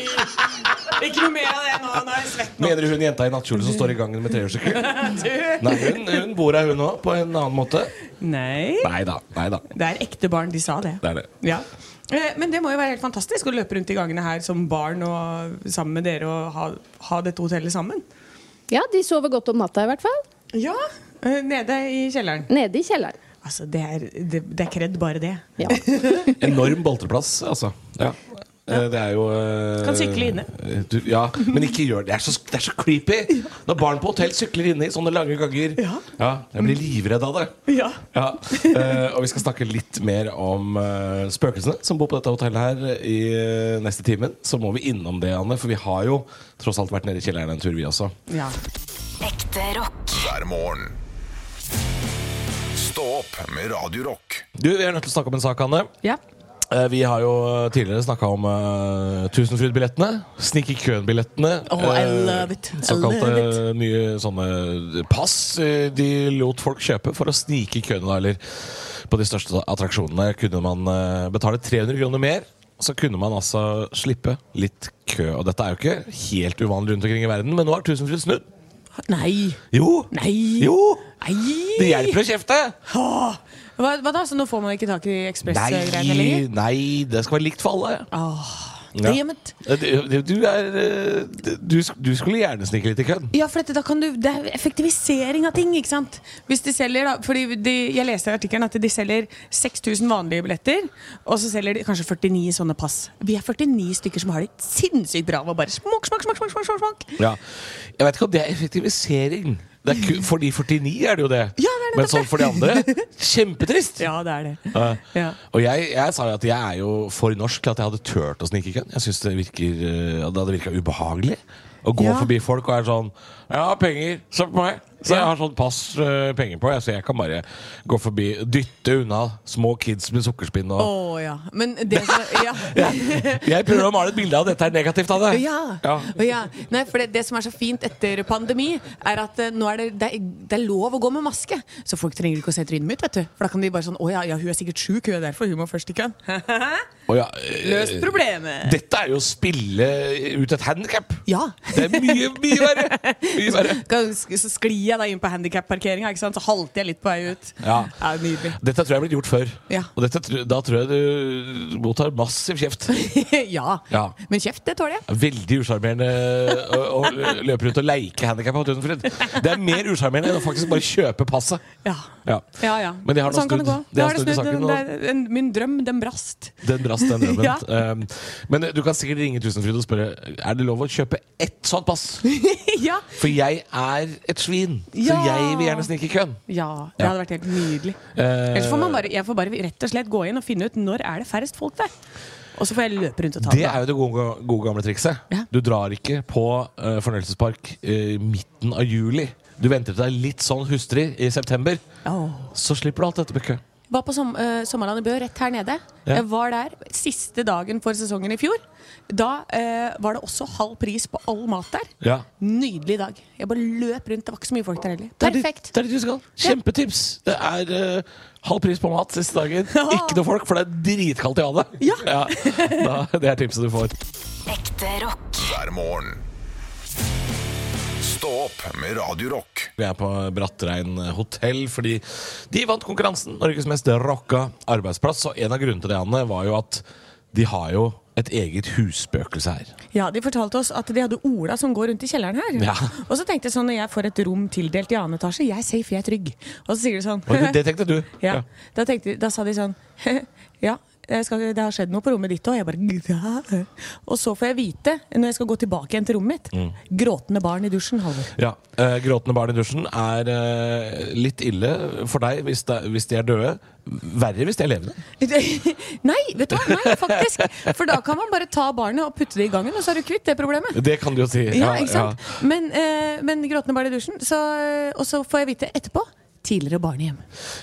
S5: Ikke noe mer av det nå. Nå er jeg svett nå.
S2: Mener du hun jenta i nattkjole som står i gangen med trehjulssykkel?
S5: Du.
S2: Nei, hun, hun bor her, hun òg, på en annen måte.
S5: Nei.
S2: Nei da. Nei da.
S5: Det er ekte barn. De sa det.
S2: Det er det.
S5: Ja. Eh, Men det må jo være helt fantastisk å løpe rundt i gangene her som barn og sammen med dere og ha, ha dette hotellet sammen.
S7: ja, de sover godt om natta i hvert fall.
S5: Ja, eh, nede i kjelleren.
S7: Nede i kjelleren.
S5: Altså, det er, det, det er kredd bare det.
S7: Ja.
S2: Enorm boltreplass, altså. Ja. Eh, Det er jo eh,
S5: Kan sykle inne.
S2: eh, Du, ja, men ikke gjør det. Det er så, det er så creepy! Når barn på hotell sykler inne i sånne lange ganger.
S5: Ja.
S2: jeg blir livredd av det.
S5: Ja.
S2: Ja. Eh, og vi skal snakke litt mer om eh, spøkelsene som bor på dette hotellet her i eh, neste timen. Så må vi innom det, Anne, for vi har jo tross alt vært nede i kjelleren en tur, vi også.
S5: ja.
S4: Ekte rock.
S1: hver morgen. Stå opp med Radio Rock.
S2: Du, Vi er nødt til å snakke om en sak, Anne.
S5: ja.
S2: Eh, Vi har jo tidligere snakka om uh, Tusenfryd-billettene. Snik i køen-billettene.
S5: Oh, I
S2: Eh,
S5: love it. I
S2: Såkalte
S5: love
S2: nye sånne pass eh, de lot folk kjøpe for å snike i køene. da, Eller på de største attraksjonene kunne man eh, betale 300 kroner mer. Så kunne man altså slippe litt kø. Og dette er jo ikke helt uvanlig rundt omkring i verden, men nå har Tusenfryd snudd.
S5: Nei.
S2: Jo!
S5: Nei.
S2: Jo!
S5: Nei.
S2: Det hjelper å kjefte!
S5: Åh. Hva, hva da? Så nå får man ikke tak i ekspressgreiene
S2: Nei,
S5: lenger?
S2: nei, det skal være likt for alle. Ja. Eh,
S5: Damn it.
S2: Du, du, er, eh, du, sk- du skulle gjerne snike litt i køen.
S5: Ja, for dette, da kan du, Det er effektivisering av ting. ikke sant? Hvis de selger, da, fordi de, Jeg leste i artikkelen at de selger 6000 vanlige billetter, og så selger de kanskje 49 sånne pass. Vi er 49 stykker som har det sinnssykt bra av å bare smak, smak, smak, smak, smak, smak, smak.
S2: Ja. Jeg vet ikke om det er effektivisering. Det er ku, for de 49 er det jo det.
S5: Ja, det er det.
S2: Men sånn for de andre kjempetrist!
S5: Ja, det er det.
S2: Eh,
S5: Ja.
S2: Og jeg, jeg sa jo at jeg er jo for norsk til at jeg hadde turt å snike i køen. Jeg synes det, virker, eh, det hadde virka ubehagelig å gå
S5: Ja.
S2: forbi folk og er sånn Jeg har penger, se på meg! Så jeg har sånn pass eh, penger på, jeg, så jeg kan bare gå forbi, dytte unna små kids med sukkerspinn og
S5: Å ja. Men det som ja.
S2: Jeg prøver å male et bilde av at dette er negativt av det.
S5: Ja. Å, ja. Nei, for det, det som er så fint etter pandemi, er at eh, nå er det, det, er- det er lov å gå med maske. Så folk trenger ikke å se trynet mitt. vet du For da kan de bare sånn Å ja, ja hun er sikkert sjuk, hun er derfor hun må først i køen.
S2: Å ja, eh,
S5: Løst problemet.
S2: Dette er jo å spille ut et handikap.
S5: Ja.
S2: Det er mye, mye verre. Mye verre.
S5: Kan- Så sklir jeg da inn på handikapparkeringa, ikke sant? så halter jeg litt på vei ut.
S2: Ja.
S5: Ja, nydelig.
S2: Dette tror jeg er blitt gjort før.
S5: Ja.
S2: Og dette, tr- da tror jeg du mottar massiv kjeft.
S5: ja.
S2: Ja.
S5: Men kjeft, det tåler jeg.
S2: Veldig usjarmerende å, å løpe rundt og leike handikap på Tusenfryd. Det er mer usjarmerende enn å faktisk bare kjøpe passet.
S5: Ja.
S2: Ja.
S5: Ja, ja.
S2: Men de har nå
S5: sånn kan det
S2: snudd.
S5: gå.
S2: De
S5: Da
S2: har
S5: har det
S2: snudd i
S5: snudd.
S2: saken,
S5: Den, der- en- min drøm, den brast.
S2: Den brast, den drømmen.
S5: Ja.
S2: Um, men du kan sikkert ringe Tusenfryd og spørre Er det lov å kjøpe ett sånt pass.
S5: ja.
S2: For jeg er et svin, så
S5: Ja.
S2: jeg vil gjerne snike i køen.
S5: ja. Det
S2: Ja.
S5: hadde vært helt nydelig.
S2: Eh,
S5: Ellers får man bare, jeg får bare rett og slett gå inn og finne ut når er det færrest folk der. Og så får jeg løpe rundt og ta
S2: det
S5: da.
S2: er jo det gode, gode gamle trikset.
S5: Ja.
S2: Du drar ikke på eh, fornøyelsespark eh, midten av juli. Du venter til det er litt sånn hustrig i september.
S5: Åh.
S2: Så slipper du alt dette med kø.
S5: Var på som, eh, Sommerland i Bø, rett her nede.
S2: Ja.
S5: Jeg var der siste dagen for sesongen i fjor. Da eh, var det også halv pris på all mat der.
S2: Ja.
S5: Nydelig dag. Jeg bare løp rundt. Det var ikke så mye folk der heller.
S2: Det er dit-
S5: Perfekt.
S2: Det er dit du skal. Kjempetips! Det er eh, halv pris på mat siste dagen. Ikke noe folk, for det er dritkaldt i alle.
S5: Ja.
S2: da, det er tipset du får.
S4: Ekte rock.
S1: hver morgen. Stå opp med Radio Rock.
S2: Vi er på Brattrein hotell fordi de vant konkurransen. Norges mest rocka arbeidsplass. Og en av grunnene til det Anne, var jo at de har jo et eget husspøkelse her.
S5: Ja, De fortalte oss at de hadde Ola som går rundt i kjelleren her.
S2: Ja.
S5: Og så tenkte jeg sånn, når jeg får et rom tildelt i annen etasje, jeg er safe, jeg er trygg. Og så sier de sånn
S2: Og det tenkte du.
S5: Ja. Da, tenkte, da sa de sånn Ja, jeg skal, det har skjedd noe på rommet ditt òg. Jeg bare «Ja». Og så får jeg vite, når jeg skal gå tilbake igjen til rommet mitt Gråtende barn i dusjen, Halvor.
S2: Mm. Ja, eh, Gråtende barn i dusjen er eh, litt ille for deg hvis, det, hvis de er døde. Verre hvis de er levende.
S5: Nei, vet du hva? Nei, faktisk! For da kan man bare ta barnet og putte det i gangen, og så er du kvitt det problemet.
S2: Det kan du jo si.
S5: Ja, ikke sant?
S2: ja.
S5: Men, eh, men gråtende barn i dusjen. Så, og så får jeg vite etterpå tidligere barnehjem.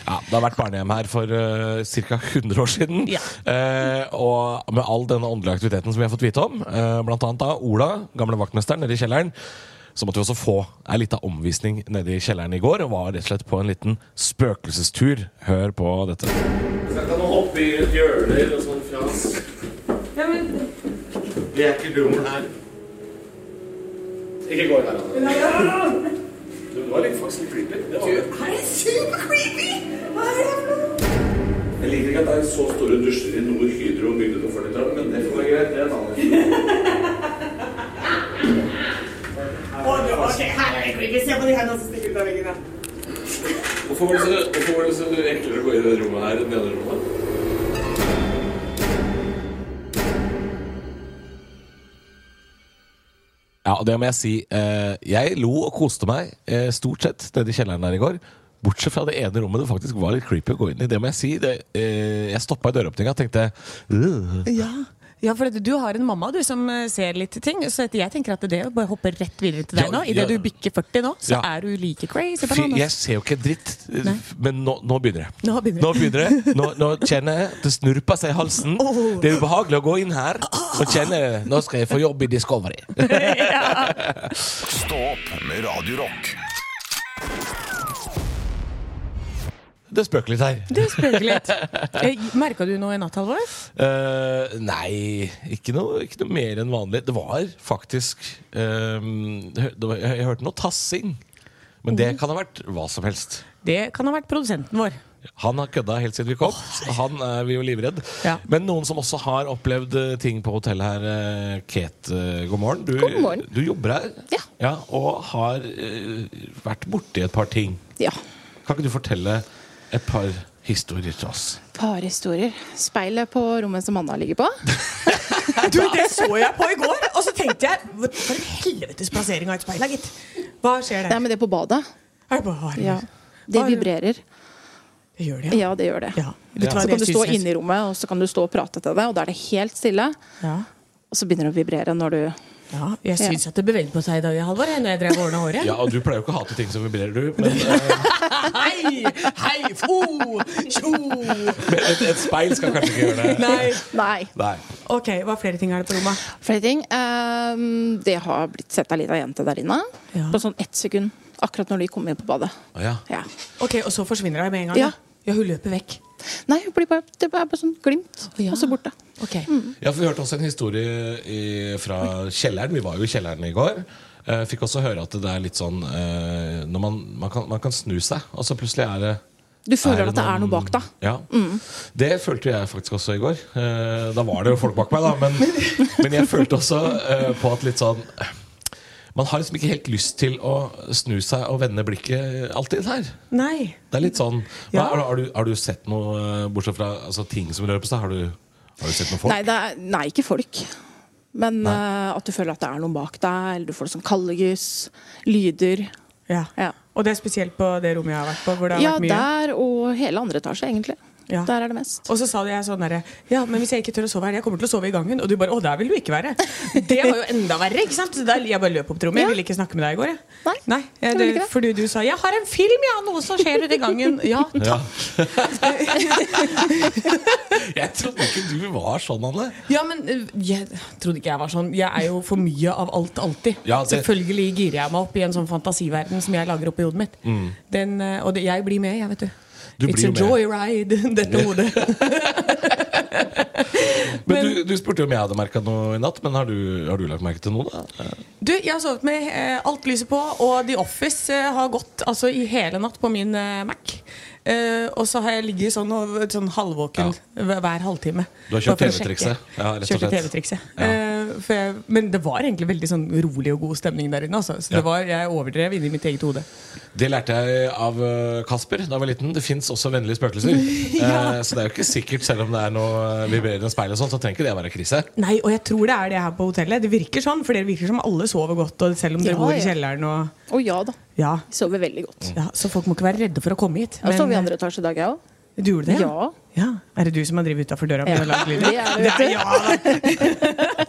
S2: Ja, Det har vært barnehjem her for uh, ca. 100 år siden.
S5: Ja.
S2: Eh, og med all denne åndelige aktiviteten som vi har fått vite om, eh, blant annet da Ola, gamle vaktmesteren nede i kjelleren, så måtte vi også få ei lita omvisning nede i kjelleren i går, og var rett og slett på en liten spøkelsestur. Hør på dette.
S10: Kan man hoppe i et hjørne eller sånn fra oss? Vi er ikke dumme her. Ikke gå der, Anna. Du var litt faktisk litt creepy. Det var det.
S9: Er det super creepy? Hva er det for noe?
S10: Jeg liker ikke at det er så store dusjer i Nord Hydro bygd på 40-tallet, men det får være greit. Det er en annen
S9: Ok, her er det creepy. Se på de
S6: да
S9: hendene som stikker ut av veggen. her.
S10: Hvorfor var det så, hvorfor var det så eklere å gå i det rommet her enn det andre rommet?
S2: Ja, og det må jeg si. eh, jeg lo og koste meg eh, stort sett nede i kjelleren her i går. Bortsett fra det ene rommet det faktisk var litt creepy å gå inn i. Det må jeg si. Det, eh, jeg stoppa i døråpninga og tenkte «Ugh».
S5: Ja, ja for at du har en mamma du som eh, ser litt ting. Så at jeg tenker at det å bare hoppe rett videre til deg
S2: Ja,
S5: nå.
S2: ja.
S5: Idet du bikker 40 nå, så
S2: Ja.
S5: er du like crazy
S2: Fy,
S5: banan.
S2: jeg
S5: altså.
S2: ser jo ikke dritt,
S5: Nei.
S2: men nå, nå begynner det.
S5: Nå begynner det.
S2: Nå, det. Nå, nå kjenner jeg det snurper seg i halsen.
S5: Oh.
S2: Det er ubehagelig å gå inn her og kjenne Nå skal jeg få jobb i Discovery.
S1: Stå opp med Radio Rock.
S2: Det spøker litt her.
S5: Du spøker litt. Merka Eh, du noe i natt, Halvor?
S2: Eh, nei, ikke noe, ikke noe mer enn vanlig. Det var faktisk eh, det var, jeg, jeg hørte noe tassing. Men det kan ha vært hva som helst.
S5: Mhm. Det kan ha vært produsenten vår.
S2: Han har kødda helt siden vi kom. Han er vi jo livredd.
S5: Ja.
S2: Men noen som også har opplevd eh, ting på hotellet her eh, Kate, eh, god morgen. Du,
S7: God morgen.
S2: du jobber her
S7: Ja.
S2: og har eh, vært borti et par ting.
S7: Ja.
S2: Kan ikke du fortelle et par historier til oss?
S7: Parhistorier. Speilet på rommet som Anna ligger på.
S5: Du, det så jeg på i går! Og så tenkte jeg For en helvetes plassering av et speil, da, gitt. Hva skjer
S7: Nei,
S5: der?
S7: men det er på badet.
S5: Er det bare
S7: Ja. Det
S5: Oi.
S7: vibrerer.
S5: Det gjør det, ja.
S7: Ja, det gjør det.
S5: Ja. Vet du hva,
S7: Så
S5: det
S7: kan du stå
S5: synes jeg-
S7: inne i rommet, og så kan du stå og prate til det, og da er det helt stille.
S5: Ja.
S7: Og så begynner det å vibrere når du
S5: ja. Jeg
S7: Ja.
S5: syns at det bevegde på seg i dag, Halvor, jeg, når jeg drev og ordna håret.
S2: Ja, og Du pleier jo ikke å hate ting som vibrerer, du. Men eh,
S5: Hei! Hei! Fo! Tjo!
S2: et, et speil skal kanskje ikke gjøre det.
S5: Nei.
S7: Nei.
S2: Nei.
S5: Ok, hva flere ting er det på rommet?
S7: Flere ting. Ehm, det har blitt sett ei lita jente der inne.
S5: Ja.
S7: På sånn ett sekund. Akkurat når de kom inn på badet.
S2: Å, ja.
S7: Ja.
S5: Ok, Og så forsvinner hun med en gang?
S7: Ja.
S5: ja Hun løper vekk.
S7: Nei, hun blir bare, det er bare sånn glimt,
S5: Ja.
S7: og så borte. Mm.
S5: Ok
S2: Ja, for Vi hørte også en historie i, fra kjelleren. Vi var jo i kjelleren i går. Eh, fikk også høre at det er litt sånn eh, når man, man, kan, man kan snu seg, og så plutselig er det
S7: Du føler at det
S2: noen-
S7: er noe bak Mm. deg.
S2: Ja. Det følte jeg faktisk også i går. Eh, da var det jo folk bak meg, da. Men, men jeg følte også eh, på at litt sånn eh, Man har liksom ikke helt lyst til å snu seg og vende blikket alltid her.
S5: Nei.
S2: Det er litt sånn hva,
S5: Ja.
S2: har, har, du, har du sett noe, eh, bortsett fra altså, ting som rører på seg, har du, har du sett noe folk?
S7: Nei, det er, nei, ikke folk. Men eh, at du føler at det er noen bak deg, eller du får sånn kallegys, lyder.
S5: Ja.
S7: Ja.
S5: Og det er spesielt på det rommet jeg har vært på. Hvor det har
S7: Ja,
S5: vært mye
S7: der og hele andre etasje, egentlig.
S5: Ja.
S7: Der er det mest.
S5: Og så sa jeg sånn derre Ja, men hvis jeg ikke tør å sove her, jeg kommer til å sove i gangen. Og du bare Å, der vil du ikke være. Det var jo enda verre, ikke sant? Så der, jeg bare løp opp trommet. Jeg
S7: Ja.
S5: ville ikke snakke med deg i går, jeg.
S7: Nei,
S5: eh,
S7: jeg
S5: det,
S7: ville ikke det.
S5: fordi du sa 'Jeg har en film, ja! Noe som skjer ute i gangen'. Ja, takk.
S2: Jeg trodde ikke du var sånn, Anne.
S5: Ja, men eh, jeg trodde ikke jeg var sånn. Jeg er jo for mye av alt alltid.
S2: Ja, det-
S5: Selvfølgelig girer jeg meg opp i en sånn fantasiverden som jeg lager opp i hodet mitt. Den, eh, og det, jeg blir med, jeg, vet du.
S2: Du
S5: It's
S2: blir
S5: a
S2: med.
S5: joyride, dette hodet.
S2: Men du, du spurte jo om jeg hadde merka noe i natt, men har du, har du lagt merke til noe, da?
S5: Du, jeg har sovet med eh, alt lyset på, og The Office eh, har gått altså, i hele natt på min eh, Mac. Eh, og så har jeg ligget sånn, og, sånn halvvåken hver, hver halvtime.
S2: Du har kjørt
S5: Bare for å
S2: TV-trikset.
S5: sjekke.
S2: Ja, rett og
S5: Kjørte
S2: slett.
S5: TV-trikset.
S2: Ja.
S5: Eh, for jeg- men det var egentlig veldig sånn rolig og god stemning der inne. Altså. Så
S2: Ja.
S5: det var, jeg overdrev inni mitt eget hode.
S2: Det lærte jeg av eh, Kasper da jeg var liten. Det fins også vennlige spøkelser. Eh, Så det er jo ikke sikkert, selv om det er noe eh, vibrerende speil og sånn, så trenger ikke det være krise.
S5: Nei, og jeg tror det er det her på hotellet. Det virker sånn, for det virker som alle sover godt, og selv om dere
S7: Ja,
S5: bor i
S7: ja.
S5: kjelleren og
S7: Å ja da.
S5: ja.
S7: Vi sover veldig godt.
S2: Mm.
S5: ja. Så folk må ikke være redde for å komme hit.
S7: Jeg sov i
S5: Men-
S7: andre etasje i dag, jeg òg.
S5: Du gjorde det?
S7: Ja.
S5: ja. Er det du som har drevet utafor døra? med
S7: Ja.
S5: å lage lyder?
S7: Det er det, vet du.
S5: er- ja, da.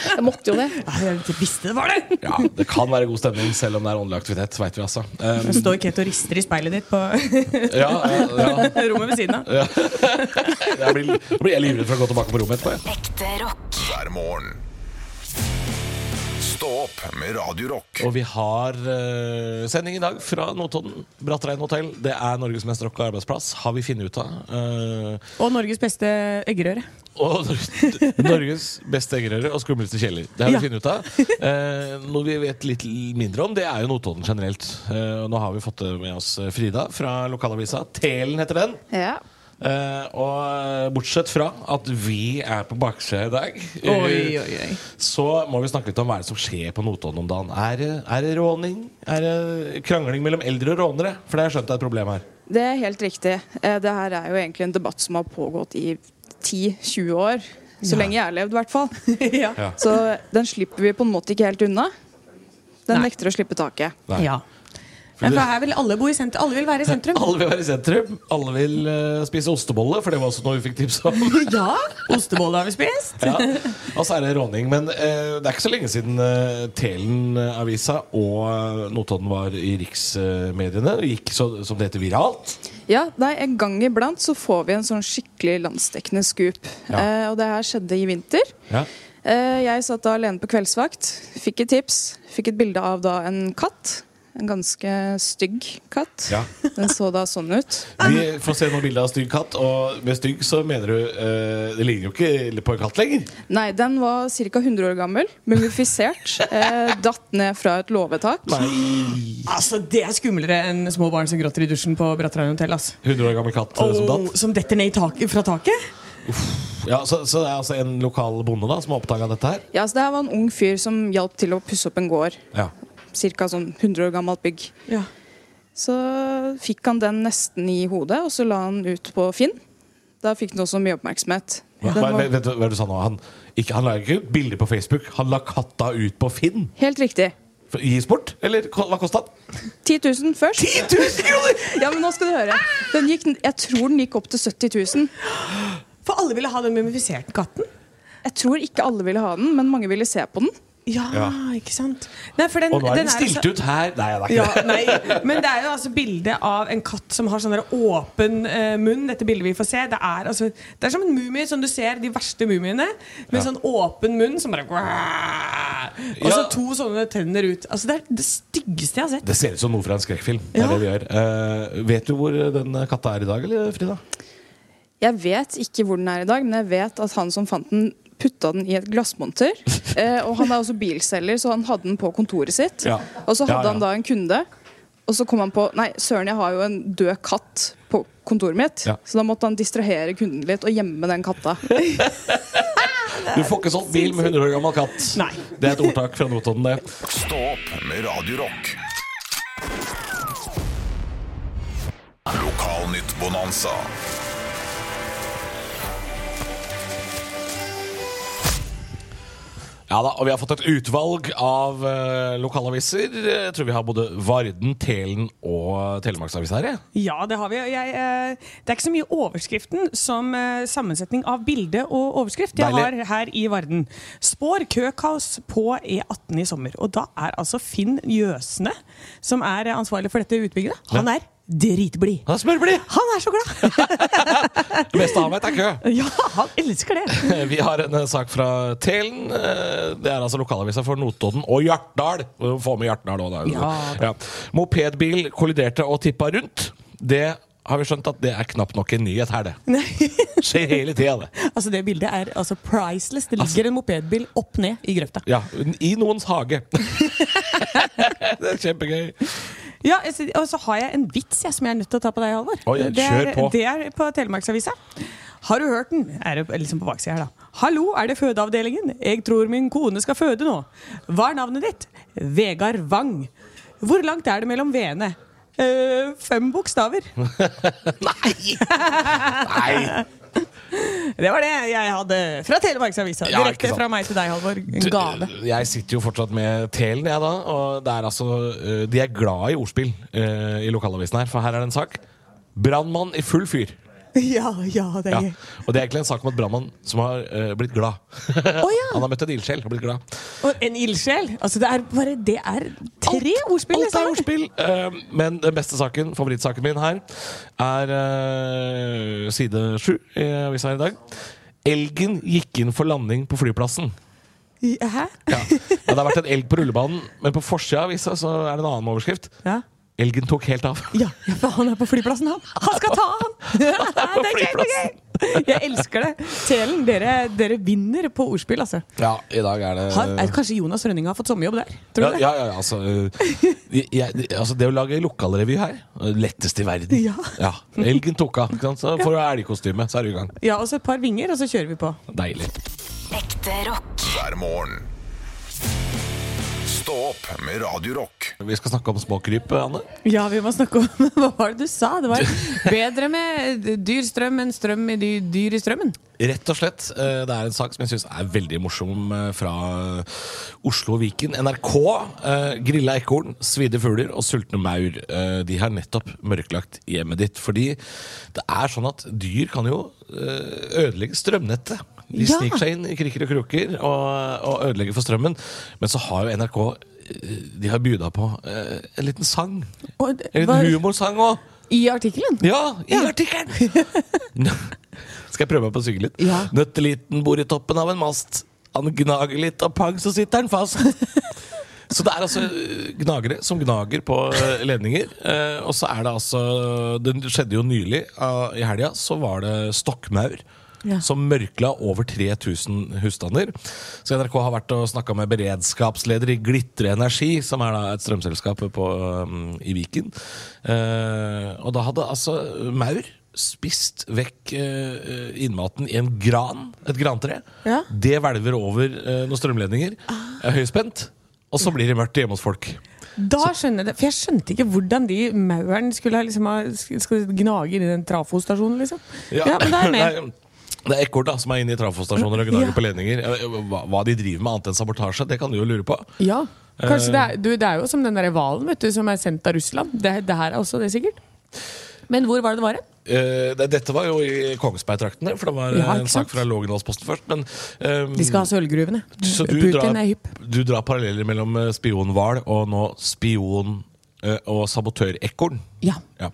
S7: Jeg måtte jo det.
S5: Ja, jeg visste det var det!
S2: Ja, Det kan være god stemning selv om det er åndelig aktivitet, veit vi altså. Eh,
S5: Jeg står Kate og rister i speilet ditt på
S2: Ja, ja, ja.
S5: rommet ved siden av.
S2: Jeg blir, jeg blir jeg livredd for å gå tilbake på rommet etterpå. jeg.
S4: Ekte rock.
S1: hver morgen. Stå opp med Radio Rock.
S2: Og vi har eh, sending i dag fra Notodden. Brattrein hotell. Det er Norges mest rocka arbeidsplass, har vi funnet ut av. Eh,
S5: Og Norges beste eggerøre.
S2: Og Nor- Norges beste eggerøre og skumleste kjeller. Det har vi
S5: Ja.
S2: funnet ut av. Eh, noe vi vet litt mindre om, det er jo Notodden generelt. Eh, og nå har vi fått med oss eh, Frida fra lokalavisa. Telen heter den.
S7: Ja.
S2: Eh, og bortsett fra at vi er på baksida i dag, eh,
S5: Oi, oi, oi.
S2: så må vi snakke litt om hva er det som skjer på Notodden om dagen. Er, det- er det råning? Er det krangling mellom eldre og rånere? For det har jeg skjønt er et problem her.
S11: Det er helt riktig. Eh, Det her er jo egentlig en debatt som har pågått i 10-20 år. Så lenge jeg har levd, i hvert fall.
S5: ja.
S2: Ja.
S11: Så den slipper vi på en måte ikke helt unna. Den
S5: Nei.
S11: nekter å slippe taket.
S2: Nei.
S5: ja. Men for her vil alle bo i sentrum. Alle vil være i sentrum.
S2: Alle vil være i sentrum. Alle vil eh, spise ostebolle, for det var også noe vi fikk tips om.
S5: Ja, Ostebolle har vi spist.
S2: Ja, og så er det råning. Men eh, det er ikke så lenge siden eh, Telen-avisa og eh, Notodden var i riksmediene. og gikk så, som det heter viralt.
S11: Ja, nei, En gang iblant så får vi en sånn skikkelig landsdekkende scoop.
S2: Ja.
S11: Eh, og det her skjedde i vinter.
S2: Ja.
S11: Eh, jeg satt da alene på kveldsvakt, fikk et tips. Fikk et bilde av da en katt. En ganske stygg katt.
S2: Ja.
S11: Den så da sånn ut.
S2: Vi får se noen bilder av stygg katt, og med stygg så mener du eh, Det ligner jo ikke på en katt lenger.
S11: Nei, den var ca. 100 år gammel, mumifisert. Eh, datt ned fra et låvetak.
S5: Altså, Det er skumlere enn små barn som gråter i dusjen på Brattrein hotell. ass.
S2: 100 år gammel katt eh, som datt.
S5: Og som detter ned i taket, fra taket?
S2: Ja, så, så det er altså en lokal bonde da som har oppdaga dette her.
S11: Ja, så Det her var en ung fyr som hjalp til å pusse opp en gård.
S2: Ja.
S11: Ca. sånn 100 år gammelt bygg.
S5: Ja.
S11: Så fikk han den nesten i hodet, og så la han ut på Finn. Da fikk den også mye oppmerksomhet.
S2: Hva,
S11: Den var
S2: vet, vet du hva du sa nå? Han, ikke, han la ikke ut bilder på Facebook. Han la katta ut på Finn.
S11: helt riktig.
S2: For- I sport? Eller ko- hva kosta den?
S11: 10 000 først. 10 000 kroner! Ja, men nå skal du høre. Den gikk, jeg tror den gikk opp til 70 000.
S5: For alle ville ha den mumifiserte katten.
S11: Jeg tror ikke alle ville ha den, men mange ville se på den.
S5: Ja,
S2: Ja.
S5: ikke sant? Nei, for den,
S2: Og nå er
S5: den
S2: den
S5: er
S2: stilt
S5: så-
S2: ut her. Nei, det er ikke
S5: Ja,
S2: det.
S5: nei, men det er jo altså bilde av en katt som har sånn der åpen eh, munn. Dette bildet vi får se Det er, altså, det er som en mumie, som du ser de verste mumiene. Med sånn åpen munn som bare Og så
S2: Ja.
S5: to sånne tenner ut. Altså, det er det styggeste jeg har sett.
S2: Det ser ut som noe fra en skrekkfilm. Det
S5: Ja.
S2: er det vi gjør. Eh, vet du hvor den katta er i dag, eller, Frida?
S11: Jeg vet ikke hvor den er i dag, men jeg vet at han som fant den, putta den i et glassmonter. Eh, og han er også bilselger, så han hadde den på kontoret sitt.
S2: Ja.
S11: Og så hadde
S2: Ja, ja.
S11: han da en kunde, og så kom han på Nei, søren, jeg har jo en død katt på kontoret mitt.
S2: Ja.
S11: Så da måtte han distrahere kunden litt og gjemme den katta.
S2: Du får ikke solgt bil med 100 år gammel katt.
S5: Nei.
S2: Det er et ordtak fra Notodden, det.
S1: Stå opp med Radio Rock. Lokalnytt Bonanza.
S2: Ja da, og vi har fått et utvalg av eh, lokalaviser. Jeg tror vi har både Varden, Telen og Telemarksavisa her. jeg.
S5: Ja, det har vi. Og Jeg, eh, det er ikke så mye overskriften som eh, sammensetning av bilde og overskrift. Jeg har
S2: Deilig.
S5: her i Varden. Spår køkaos på E18 i sommer. Og da er altså Finn Jøsne, som er eh, ansvarlig for dette utbygget, han
S2: Ja.
S5: er dritblid.
S2: Han er smørblid!
S5: Han er så glad!
S2: Det meste han vet, er kø.
S5: Ja, han elsker det!
S2: Vi har en eh, sak fra Telen. Eh, Det er altså lokalavisa for Notodden og Hjartdal. Vi må Få med Hjartdal også, da.
S5: Ja,
S2: Ja. Mopedbil kolliderte og tippa rundt. Det har vi skjønt at det er knapt nok en nyhet her, det.
S5: Nei,
S2: Skjer hele tida, det.
S5: altså Det bildet er altså priceless. Det ligger en mopedbil opp ned i grøfta.
S2: Ja, I noens hage. det er kjempegøy.
S5: Ja, altså, Og så har jeg en vits jeg, som jeg er nødt til å ta på deg, Halvor.
S2: Oi,
S5: det, er,
S2: kjør på.
S5: det er på Telemarksavisa. Har du hørt den? Er det liksom på baksida her, da. Hallo, er det fødeavdelingen? Jeg tror min kone skal føde nå. Hva er navnet ditt? Vegard Wang. Hvor langt er det mellom v-ene? «Eh, fem bokstaver.
S2: Nei!
S5: Det var det jeg hadde fra Telemarksavisa.
S2: Ja, ikke
S5: Direkte
S2: sant.
S5: fra meg til deg, Halvor. En gave.
S2: Du, Jeg sitter jo fortsatt med Telen, jeg, da. Og det er altså, eh, de er glad i ordspill eh, i lokalavisen her, for her er det en sak. Brannmann i full fyr.
S5: Ja, ja, det
S2: Ja.
S5: er gøy.
S2: Og det er egentlig en sak om et brannmann som har eh, blitt glad.
S5: ja.
S2: Han har møtt en ildsjel og blitt glad.
S5: Og en ildsjel. Altså, det er bare Det er tre ordspill.
S2: Alt er
S5: liksom.
S2: ordspill! Eh, men den beste saken, favorittsaken min her, er eh, side sju i avisa her i dag. Elgen gikk inn for landing på flyplassen.
S5: Hæ?
S2: Ja. Ja, det har vært en elg på rullebanen, men på forsida av avisa så er det en annen overskrift.
S5: Ja.
S2: Elgen tok helt av.
S5: Ja, ja, for han er på flyplassen, han. Han skal ta han!
S2: på
S5: Det er gøy, det er
S2: flyplassen.
S5: gøy! Jeg elsker det. Telen, dere, dere vinner på ordspill, altså.
S2: Ja, i dag er det
S5: Har, er, kanskje Jonas Rønning har fått sommerjobb der?
S2: ja,
S5: Tror du det?
S2: ja, ja, ja, altså, eh, jeg, det- altså Det å lage lokalrevy her, eh, lettest i verden.
S5: Ja.
S2: Elgen tok av. ikke sant? Så får du elgkostyme, så er du i gang.
S5: Ja, og så et par vinger, og så kjører vi på.
S2: Deilig.
S4: Ekte rock.
S1: hver morgen. Stå opp med Radio Rock.
S2: Vi skal snakke om småkryp, Anne.
S5: Ja, vi må snakke om Hva var det du sa? Det var bedre med dyr strøm enn strøm med dy- dyr i strømmen.
S2: Rett og slett. eh, Det er en sak som jeg syns er veldig morsom eh, fra Oslo og Viken. NRK. eh, Grilla ekorn, svidde fugler og sultne maur. eh, De har nettopp mørklagt hjemmet ditt. Fordi det er sånn at dyr kan jo eh, ødelegge strømnettet. De
S5: Ja.
S2: sniker seg inn i krikker og kroker og, og ødelegger for strømmen. Men så har jo NRK eh, de har bjuda på eh, en liten sang.
S5: Og det
S2: En
S5: var-
S2: liten humorsang òg.
S5: I artikkelen?
S2: Ja, i artikkelen! Skal jeg prøve meg på å synge litt?
S5: Ja.
S2: Nøtteliten bor i toppen av en mast. Han gnager litt, og pang, så sitter han fast. Så det er altså øh, gnagere som gnager på øh, ledninger. Eh, Og så er det altså Det skjedde jo nylig. ah, I helga så var det stokkmaur.
S5: Ja.
S2: Som mørkla over 3000 husstander. Så NRK har vært og snakka med beredskapsleder i Glitre Energi, som er da et strømselskap på, um, i Viken. Eh, og da hadde altså maur spist vekk eh, innmaten i en gran, et grantre.
S5: Ja.
S2: Det hvelver over eh, noen strømledninger. er Høyspent. Og så blir det mørkt hjemme hos folk.
S5: Da skjønner jeg det. For jeg skjønte ikke hvordan de maurene skulle ha liksom, ha- skal gnage inn i den trafostasjonen, liksom. Ja, men da er jeg med.
S2: det er- Det er ekorn da, som er inne i trafostasjoner og gnager
S5: Ja.
S2: på ledninger. Hva, hva de driver med annet enn sabotasje, det kan du jo lure på.
S5: Ja. Kanskje
S2: Eh.
S5: det, er, du, det er jo som den der hvalen vet du, som er sendt av Russland. Det, det her er også det, sikkert. Men hvor var det det var? hen?
S2: Eh, det- dette var jo i Kongsberg-traktene, for det var eh,
S5: Ja,
S2: en
S5: ikke
S2: sak
S5: sant?
S2: fra Lågendalsposten først. Men, ehm,
S5: De skal ha sølvgruvene.
S2: så du
S5: Putin
S2: drar,
S5: er hypp.
S2: du drar paralleller mellom eh, spionhval og nå spion eh, og sabotørekorn.
S5: Ja.
S2: Ja.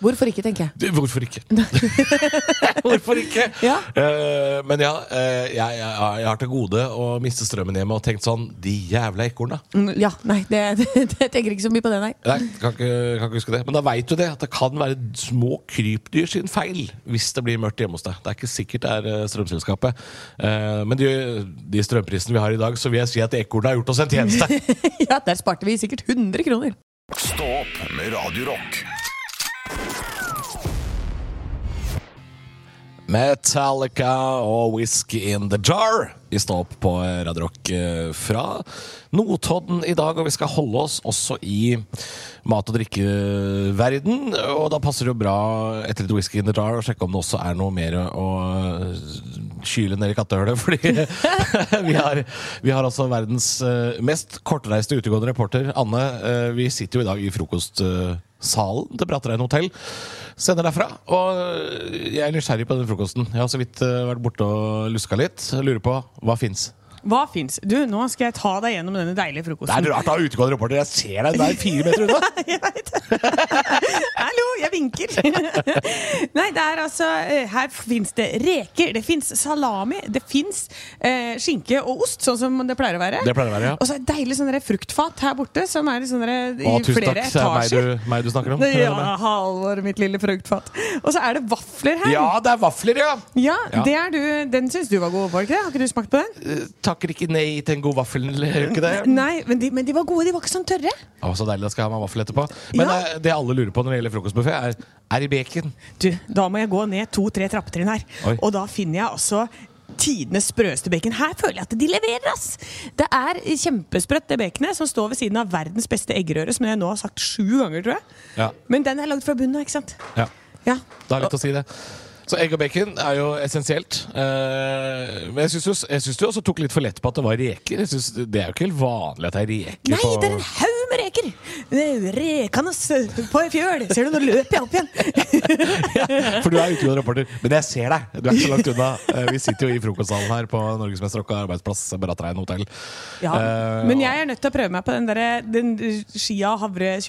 S5: Hvorfor ikke, tenker jeg.
S2: Det- Hvorfor ikke? Hvorfor ikke?
S5: Ja.
S2: Eh, men ja, eh, jeg, jeg, jeg har til gode å miste strømmen hjemme og tenkt sånn De jævla ekorna.
S5: Mm, Ja, nei, det, det, jeg tenker ikke så mye på det, nei.
S2: Nei, kan ikke, kan ikke huske det. Men da veit du det, at det kan være små krypdyr sin feil hvis det blir mørkt hjemme hos deg. Det er ikke sikkert det er eh, strømselskapet. Eh, men de, de strømprisene vi har i dag, så vil jeg si at ekornet har gjort oss en tjeneste.
S5: Ja, Der sparte vi sikkert 100 kroner.
S1: Stå opp med Radio Rock.
S2: Metallica og Whisky in the Jar. Vi står opp på Radio Rock eh, fra Notodden i dag, og vi skal holde oss også i mat- og drikkeverden. Og da passer det jo bra etter litt Whisky in the Jar å sjekke om det også er noe mer å kyle ned i kattehølet, fordi vi har, vi har altså verdens eh, mest kortreiste utegående reporter. Anne, eh, vi sitter jo i dag i frokostsalen til Brattrein hotell. Sender derfra. Og eh, jeg er nysgjerrig på den frokosten. Jeg har så vidt eh, vært borte og luska litt. Jeg Lurer på hva fins.
S5: Hva fins? Du, nå skal jeg ta deg gjennom denne deilige
S2: Det er
S5: frokosten.
S2: rart å ha utegående reporter. Jeg ser deg der fire meter unna.
S5: Hallo, jeg vinker! Nei, det er altså eh, Her fins det reker, det fins salami, det fins eh, skinke og ost, sånn som det pleier å være.
S2: Det pleier å være, ja.
S5: Og så er det deilig sånn der fruktfat her borte, som er i sånn der- i
S2: Å, tusen
S5: flere
S2: takk. Det er meg
S5: etasjer.
S2: du, meg du snakker om.
S5: Ja, Halvor, mitt lille fruktfat. Og så er det vafler her.
S2: ja, det er vafler, ja!
S5: Ja,
S2: Ja.
S5: det er du, Den syns du var god, var det ikke det? Har ikke du smakt på den?
S2: Eh, Takker ikke nei til en god vaffel. Gjør du ikke det?
S5: Nei, men de, men de var gode. De var ikke sånn tørre.
S2: Å, så deilig. Da skal jeg ha meg vaffel etterpå. Men eh, det alle lurer på når det gjelder frokostbuffé, er er i bacon.
S5: Du, da må jeg gå ned to-tre trappetrinn her.
S2: Oi.
S5: Og da finner jeg altså Tidenes sprøeste bacon. Her føler jeg at de leverer! ass Det er kjempesprøtt, det baconet som står ved siden av verdens beste eggerøre, som jeg nå har sagt sju ganger, tror jeg.
S2: Ja,
S5: Men den er lagd fra bunnen av, ikke sant?
S2: ja.
S5: Ja.
S2: Det er litt å si, det. Så egg og bacon er jo essensielt. Eh, men jeg syns du, jeg syns du også tok litt for lett på at det var reker. Jeg synes, det er jo ikke helt vanlig at det er reker
S5: Nei,
S2: på
S5: det er en haug med reker! Rekanes på ei fjøl! Ser du, nå løper jeg opp igjen!
S2: For du er utegående reporter. Men jeg ser deg! Du er ikke så langt unna. Eh, Vi sitter jo i frokostsalen her på Norgesmester og arbeidsplass Brattrein hotell.
S5: Ja,
S2: Eh,
S5: men jeg er nødt til å prøve meg på den, derre- den skia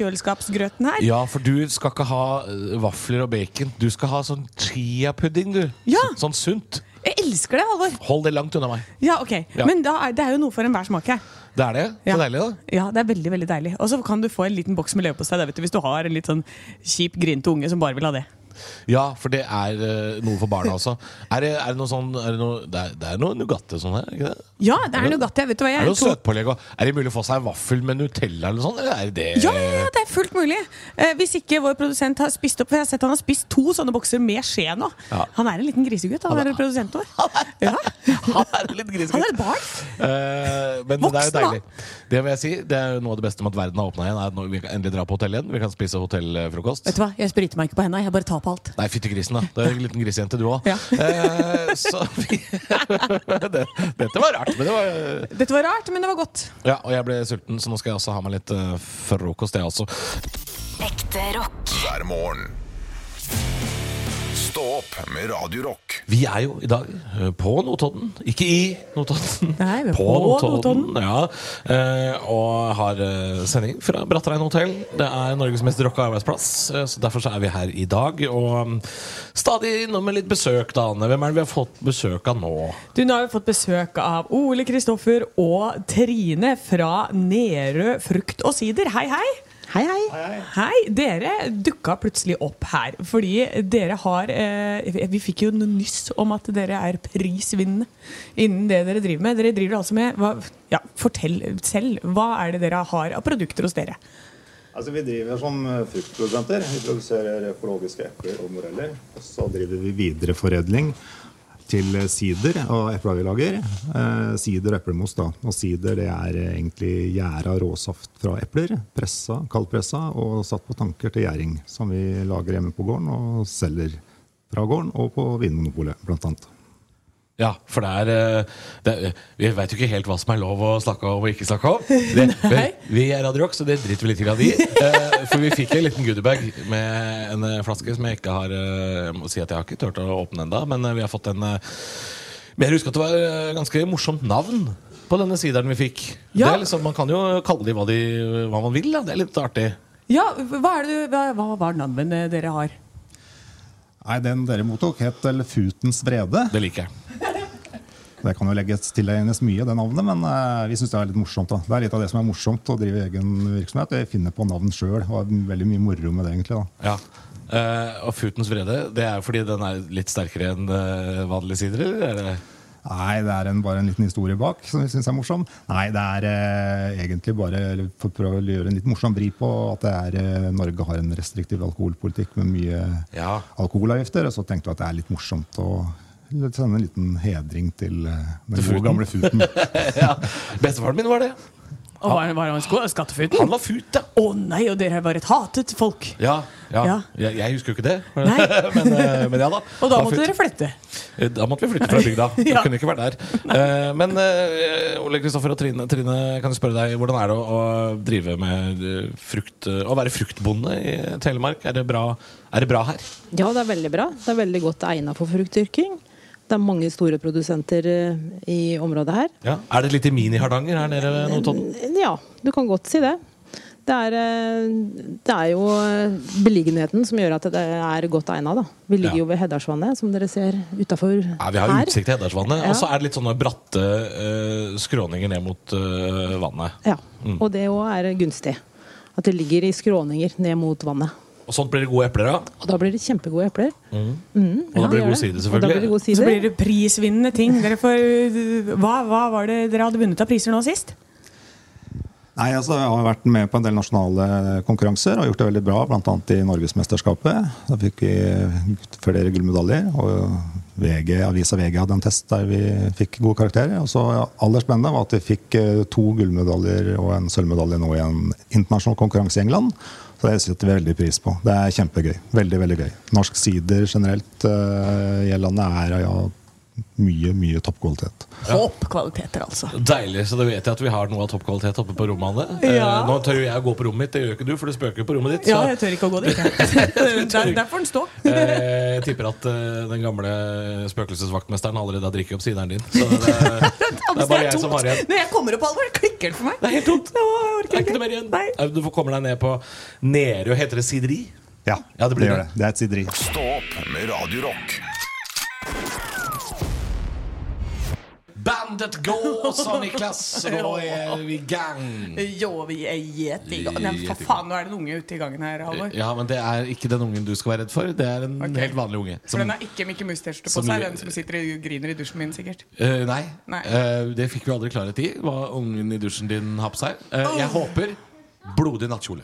S5: havrekjøleskapsgrøten her.
S2: Ja, for du skal ikke ha eh, vafler og bacon. Du skal ha sånn chia-pudding, du.
S5: Ja.
S2: Så, sånn sunt.
S5: Jeg elsker det, Halvor!
S2: Hold det langt unna meg.
S5: Ja, ok.
S2: Ja.
S5: Men da er, det er jo noe for enhver smak her.
S2: Det er det. Så
S5: Ja.
S2: deilig, da.
S5: Ja, det er veldig veldig deilig. Og så kan du få en liten boks med leverpostei der, vet du, hvis du har en litt sånn kjip, grinete unge som bare vil ha det.
S2: Ja, for det er eh, noe for barna også. Er det, er det noe sånn er det, noe, det, er, det er noe Nugatti og sånn her? ikke det?
S5: Ja, det er Nugatti. Vet du hva
S2: Er det
S5: jeg
S2: noe søtpålegg òg? Er det mulig å få seg en vaffel med Nutella eller sånn? Eller er det
S5: Ja, ja, ja, det er fullt mulig. Eh, hvis ikke vår produsent har spist opp For jeg har sett han har spist to sånne bokser med skje nå.
S2: Ja.
S5: Han er en liten grisegutt, han,
S2: Han er-
S5: er produsenten vår. Ja.
S2: Han er litt grisegutt.
S5: Han er et barn.
S2: Eh, men det er jo
S5: Voksen, da.
S2: deilig. Det må jeg si, det er jo noe av det beste med at verden har åpna igjen. Er at nå- vi kan endelig dra på hotell igjen. Vi kan spise hotellfrokost.
S5: Vet du hva, jeg spriter meg ikke på henda, jeg bare tar på alt.
S2: Nei, fytti grisen, da. Det er en liten grisejente, du òg.
S5: Ja.
S2: Eh, så vi det, Dette var rart, men det var
S5: Dette var rart, men det var godt.
S2: Ja, og jeg ble sulten, så nå skal jeg også ha meg litt eh, frokost, jeg også.
S4: Ekte rock.
S1: hver morgen. Stå opp med Radio Rock.
S2: Vi er jo i dag eh, på Notodden. Ikke i Notodden.
S5: Nei, men
S2: på
S5: på
S2: Notodden. Ja. Eh, og har eh, sending fra Brattrein hotell. Det er Norges mest rocka arbeidsplass. eh, så Derfor så er vi her i dag. Og mm, stadig innom med litt besøk, da, Anne. Hvem er det vi har fått besøk av nå?
S5: Du, nå har vi fått besøk av Ole Kristoffer og Trine fra Nerød frukt og sider. Hei, hei!
S12: Hei, hei.
S5: Hei, Dere dukka plutselig opp her. Fordi dere har eh, Vi fikk jo noe nyss om at dere er prisvinnende innen det dere driver med. Dere driver altså med hva, ja, Fortell selv. Hva er det dere har av produkter hos dere?
S13: Altså, vi driver som eh, fruktprodusenter. Vi produserer eh, økologiske epler og moreller. Og så driver vi videreforedling til eh, sider og eplelager. Eh, sider og eplemos, da. Og sider det er eh, egentlig gjæra råsaft fra epler. Pressa, kaldpressa og satt på tanker til gjæring. Som vi lager hjemme på gården og selger fra gården og på Vinmonopolet, blant annet.
S2: Ja, for det er, eh, det er Vi veit jo ikke helt hva som er lov å snakke om og ikke snakke om. Det, vi, vi er Radio Rock, så det driter vi litt grann i. Eh, For vi fikk en liten goodiebag med en eh, flaske som jeg ikke har eh, Jeg må si at jeg har ikke turt å åpne enda men eh, vi har fått en eh, Men jeg husker at det var eh, ganske morsomt navn på denne sideren vi fikk. Det er liksom, man kan jo kalle de hva, de hva man vil. Da. Det er litt artig.
S5: Ja, Hva er det du, hva, hva var navnet dere har?
S13: Nei, den dere mottok, het vel Futens vrede.
S2: Det liker jeg.
S13: Det kan jo legges til mye, det navnet, men eh, vi syns det er litt morsomt. da. Det er litt av det som er morsomt å drive egen virksomhet. Vi finner på navn sjøl. Veldig mye moro med det, egentlig. da.
S2: Ja. Eh, og Futens vrede, det er jo fordi den er litt sterkere enn eh, vanlige sider? Eller? er det-
S13: Nei, det er en, bare en liten historie bak som vi syns er morsom. Nei, det er eh, egentlig bare eller for å prøve å gjøre en litt morsom vri på at det er, eh, Norge har en restriktiv alkoholpolitikk med mye alkoholavgifter. Og så tenkte vi at det er litt morsomt å sende en liten hedring til eh, den
S2: Til
S13: gode, gamle
S2: Futen.
S13: Futen.
S2: ja. Bestefaren min var det.
S5: Og var, var han sko- skattefuten?
S2: Han var fut, da.
S5: Å nei, og dere var et hatet folk.
S2: Ja, ja.
S5: Ja.
S2: Jeg, jeg husker jo ikke det.
S5: Nei.
S2: men, eh, men ja da.
S5: Og da
S2: Han
S5: måtte
S2: flytt-
S5: dere flytte.
S2: Eh, Da måtte vi flytte fra bygda. Vi
S5: Ja.
S2: kunne ikke vært der. Eh, men eh, Ole Kristoffer og Trine, Trine, kan jeg spørre deg hvordan er det å, å drive med eh, frukt eh, Å være fruktbonde i Telemark? Er det bra, er det bra her?
S12: Ja, det er veldig bra. Det er veldig godt egnet for fruktdyrking. Det er mange store produsenter eh, i området her.
S2: Ja. Er det litt i mini-Hardanger her nede ved Notodden?
S12: Ja, du kan godt si det. Det er, eh, det er jo eh, beliggenheten som gjør at det er godt egnet. Da. Vi ligger jo ved Heddarsvannet, som dere ser utafor
S2: Ja, vi har jo utsikt til Heddarsvannet.
S12: Ja.
S2: Og så er det litt sånne bratte eh, skråninger ned mot eh, vannet.
S12: Ja,
S2: Mm.
S12: og det òg er gunstig. At det ligger i skråninger ned mot vannet.
S2: Og sånt blir det gode epler av.
S12: Og da blir det kjempegode epler.
S2: Mm.
S12: Mm,
S2: Og da blir det god
S12: Og da blir det
S2: side, selvfølgelig.
S12: god side.
S5: Så blir det prisvinnende ting. Dere får, øh, hva, hva var det dere hadde vunnet av priser nå sist?
S13: Nei, altså Jeg har vært med på en del nasjonale konkurranser og gjort det veldig bra, bl.a. i Norgesmesterskapet. Da fikk vi flere gullmedaljer. og VG, Avisa VG hadde en test der vi fikk gode karakterer. Og så ja, aller spennende var at vi fikk eh, to gullmedaljer og en sølvmedalje nå i en internasjonal konkurranse i England. Så det setter vi veldig pris på. Det er kjempegøy. Veldig, veldig gøy. Norsk sider generelt eh, i landet er ja, mye, mye toppkvalitet.
S5: Toppkvaliteter, altså.
S2: Deilig, så da vet jeg at vi har noe av toppkvalitet oppe på rommet. Anne.
S5: Ja.
S2: Eh, nå tør jo jeg å gå på rommet mitt, det gjør jo ikke du, for du spøker jo på rommet ditt.
S5: Ja,
S2: så-
S5: jeg tør ikke å gå dit. jeg. Der, der får den stå.
S2: Eh, Jeg tipper at eh, den gamle spøkelsesvaktmesteren allerede har drukket opp sideren din. Så det, det er bare jeg som har igjen.
S5: Når jeg kommer opp alvor, klikker den for meg.
S2: Det er helt tomt. Det er ikke noe mer igjen. Eh, Du får komme deg ned på Nerøy. Heter det sideri?
S13: Ja,
S2: det blir
S13: gjør det. Det er et sideri.
S1: Stå opp med Radio Rock.
S2: Bandet går som i klasse, nå er vi i gang.
S5: Jo, vi er gjeting. Nei, for
S2: Gjeting.
S5: faen, nå er det en unge ute i gangen her, Halvor.
S2: Ja, men det er ikke den ungen du skal være redd for. Det er en helt vanlig unge.
S5: For den har ikke Mickey Mouse-T-skjorte på
S2: som-
S5: seg, den som sitter og griner i dusjen min, sikkert.
S2: Eh, nei.
S5: Nei.
S2: Eh, det fikk vi aldri klarhet i. Hva ungen i dusjen din har på seg. Eh, jeg håper blodig nattkjole.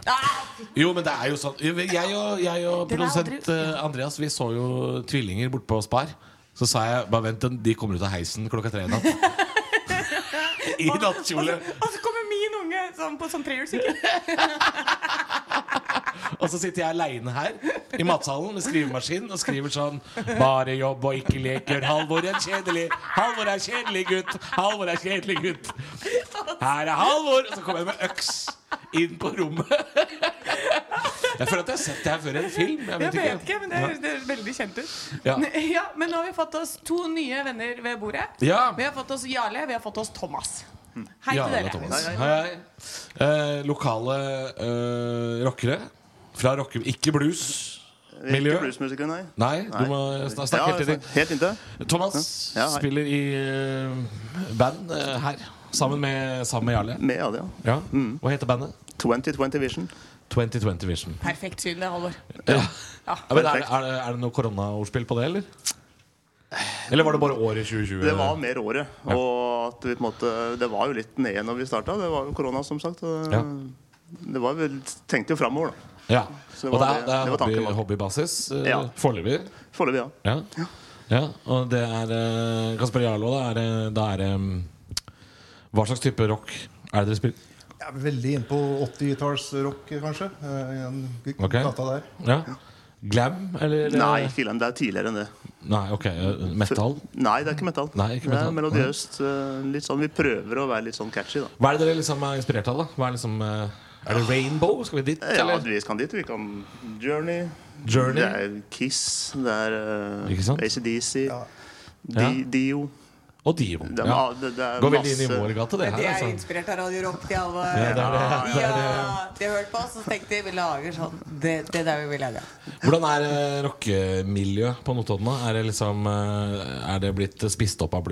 S2: Jo, men det er jo sånn. Jeg og, jeg og
S14: Den er
S2: produsent eh, Andreas Vi så jo tvillinger borte på Spar. Så sa jeg bare vent, den- de kommer ut av heisen klokka tre i natt. I nattkjole.
S5: Og så kommer min unge sånn, på sånn trehjulssykkel.
S2: Og så sitter jeg aleine her i matsalen med skrivemaskin og skriver sånn Bare jobb og ikke leker. Halvor er kjedelig. Halvor er kjedelig gutt. Halvor er kjedelig gutt. Her er Halvor! Og så kommer jeg med øks inn på rommet. Jeg føler at jeg har sett det her før i en film.
S5: Jeg vet ikke, men det høres det høres veldig kjent ut.
S2: Ja.
S5: ja, Men nå har vi fått oss to nye venner ved bordet.
S2: Ja.
S5: Vi har fått oss Jarle, vi har fått oss Thomas. Hei
S2: Ja,
S5: til
S2: det er
S5: dere.
S2: Thomas. Hei, hei. Eh, lokale eh, rockere. Fra rocke... Ikke blues-miljø.
S15: Ikke bluesmusikere, nei.
S2: Nei, du må snak- snakke helt inn i-
S15: helt inntil.
S2: Thomas
S15: Ja, hei.
S2: spiller i eh, band eh, her, sammen med, sammen med Jarle.
S15: Med Jarle, ja. Mm.
S2: Ja. Hva heter bandet?
S15: 2020 Vision.
S2: 2020 Vision.
S5: Perfekt synlig, Halvor.
S2: Ja.
S5: Ja.
S2: Ja, men er, det- er, det- er det noe koronaordspill på det, eller? Eller var det bare året 2020?
S15: Det var mer året. Og at vi på en måte, det var jo litt nede når vi starta. Det var jo korona, som sagt. og
S2: Ja.
S15: Det var vel, tenkte jo framover, da.
S2: Ja.
S15: Så det
S2: og det
S15: var
S2: er,
S15: det-
S2: det er
S15: det var tanken
S2: hobby,
S15: bak.
S2: hobbybasis eh,
S15: Ja.
S2: foreløpig?
S15: Foreløpig, ja.
S2: Ja. ja. Og det er eh, Kasper Jarlo, da er det, da er det mm, Hva slags type rock er det dere spiller?
S16: Jeg er veldig inne på 80-tallsrock, kanskje. eh, i en
S2: Ok.
S16: gata der.
S2: Ja. Glam, eller? eh?
S15: Nei, ikke glam. Det er tidligere enn det.
S2: Nei, ok, eh, Metal?
S15: Nei, det er ikke metal.
S2: Nei, ikke
S15: Det
S2: metal.
S15: er melodiøst. eh, Litt sånn, vi prøver å være litt sånn catchy, da.
S2: Hva er det dere liksom er inspirert av? da? Hva Er liksom eh, Er det Rainbow? Skal vi dit?
S15: Ja,
S2: eller?
S15: vi kan dit. Vi kan Journey.
S2: Journey.
S15: Det er Kiss. Det er eh,
S2: Ikke sant?
S15: ACDC.
S2: Ja.
S15: Di, Dio.
S2: Og Dio.
S15: Det er,
S2: ja.
S15: ma- det, det er
S2: Går veldig inn i
S15: masse-
S2: vår gate, det
S15: Men
S2: her.
S15: det er
S2: Altså.
S9: Inspirert av Radio Rock til Halvor.
S2: Ja, det er det. Det er
S9: Ja, de har hørt på oss, og så tenkte de vi lager sånn. Det, det er der vi vil lage.
S2: Hvordan er eh, rockemiljøet på Notodden? da? Er det liksom eh, Er det blitt spist opp av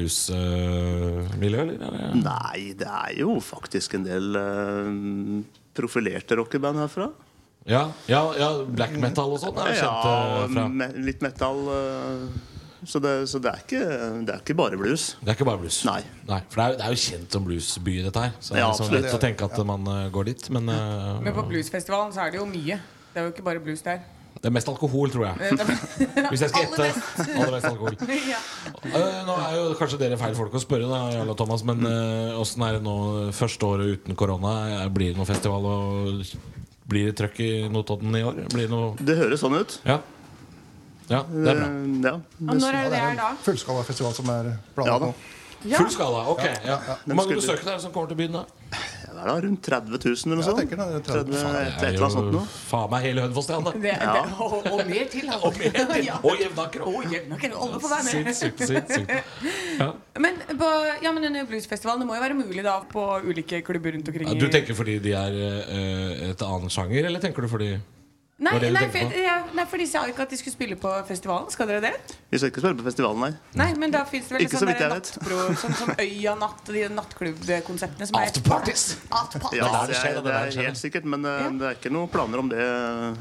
S2: bluesmiljøet, eller? Er det-
S15: Nei, det er jo faktisk en del eh, profilerte rockeband herfra.
S2: Ja, ja, ja, black metal og sånn er jo kjent eh,
S15: ja,
S2: fra
S15: me litt metal. eh, så det, så det, er ikke, det er ikke bare blues.
S2: Det er ikke bare blues. Nei, For det er, jo- det er jo kjent som bluesby, dette her. Så det er
S15: Ja,
S2: liksom
S15: absolutt.
S2: lett å tenke at man eh, går dit, men eh,
S5: Men på bluesfestivalen så er det jo mye. Det er jo ikke bare blues der.
S2: Det er mest alkohol, tror jeg. Hvis jeg skal gjette. Aller mest alkohol.
S5: Ja.
S2: Eh, nå er jo kanskje dere feil folk å spørre, da, Jarle og Thomas, men åssen er det nå eh, første året uten korona? Eh, Blir det noe festival og blir det trøkk i Notodden i år? Blir det noe
S15: Det høres sånn ut. Eh,
S2: Ja. Ja, det er bra.
S5: Og når er det det er da?
S13: Fullskala festival som er
S15: Ja
S13: planlagt
S15: da.
S13: nå.
S5: Ja.
S2: Full skala, ok.
S13: Ja,
S2: Ja.
S13: ja.
S2: Hvor mange besøkere er det som kommer til byen, da?
S15: Ja, Det er da rundt 30 000 eller noe sånt.
S13: tenker det er 30
S15: 30,
S2: Faen,
S15: et, et
S2: det er
S15: eller annet sånt
S2: jo
S15: noe.
S2: faen meg hele Hønefoss, det, Anne.
S5: Det, det, og, og mer til, altså.
S2: Og mer til.
S5: Ja.
S2: Og Jevnaker.
S5: Og Jevnaker. Alle får være med.
S2: Sinnssykt, sinnssykt.
S5: Men på ja, men denne bluesfestivalen det må jo være mulig da på ulike klubber rundt omkring.
S2: Ja,
S5: i-
S2: Du tenker fordi de er eh, et annen sjanger, eller tenker du fordi
S5: nei,
S2: var det du
S5: nei,
S2: tenkte
S5: for,
S2: på?
S5: ja, nei, for de sa jo ikke at de skulle spille på festivalen. Skal dere det?
S15: Vi skal ikke spille på festivalen, nei.
S5: Nei, men da fins det vel
S15: Ikke så
S5: sånn
S15: vidt
S5: der
S15: jeg vet.
S5: nattpro, sånn som Øya Natt og de nattklubbkonseptene som er
S2: Afterparties!
S5: Afterparties.
S15: Ja,
S2: der det
S15: det
S2: skjer,
S15: er,
S2: det
S15: det
S2: der
S15: er helt sikkert, men eh, det er ikke noen planer om det eh,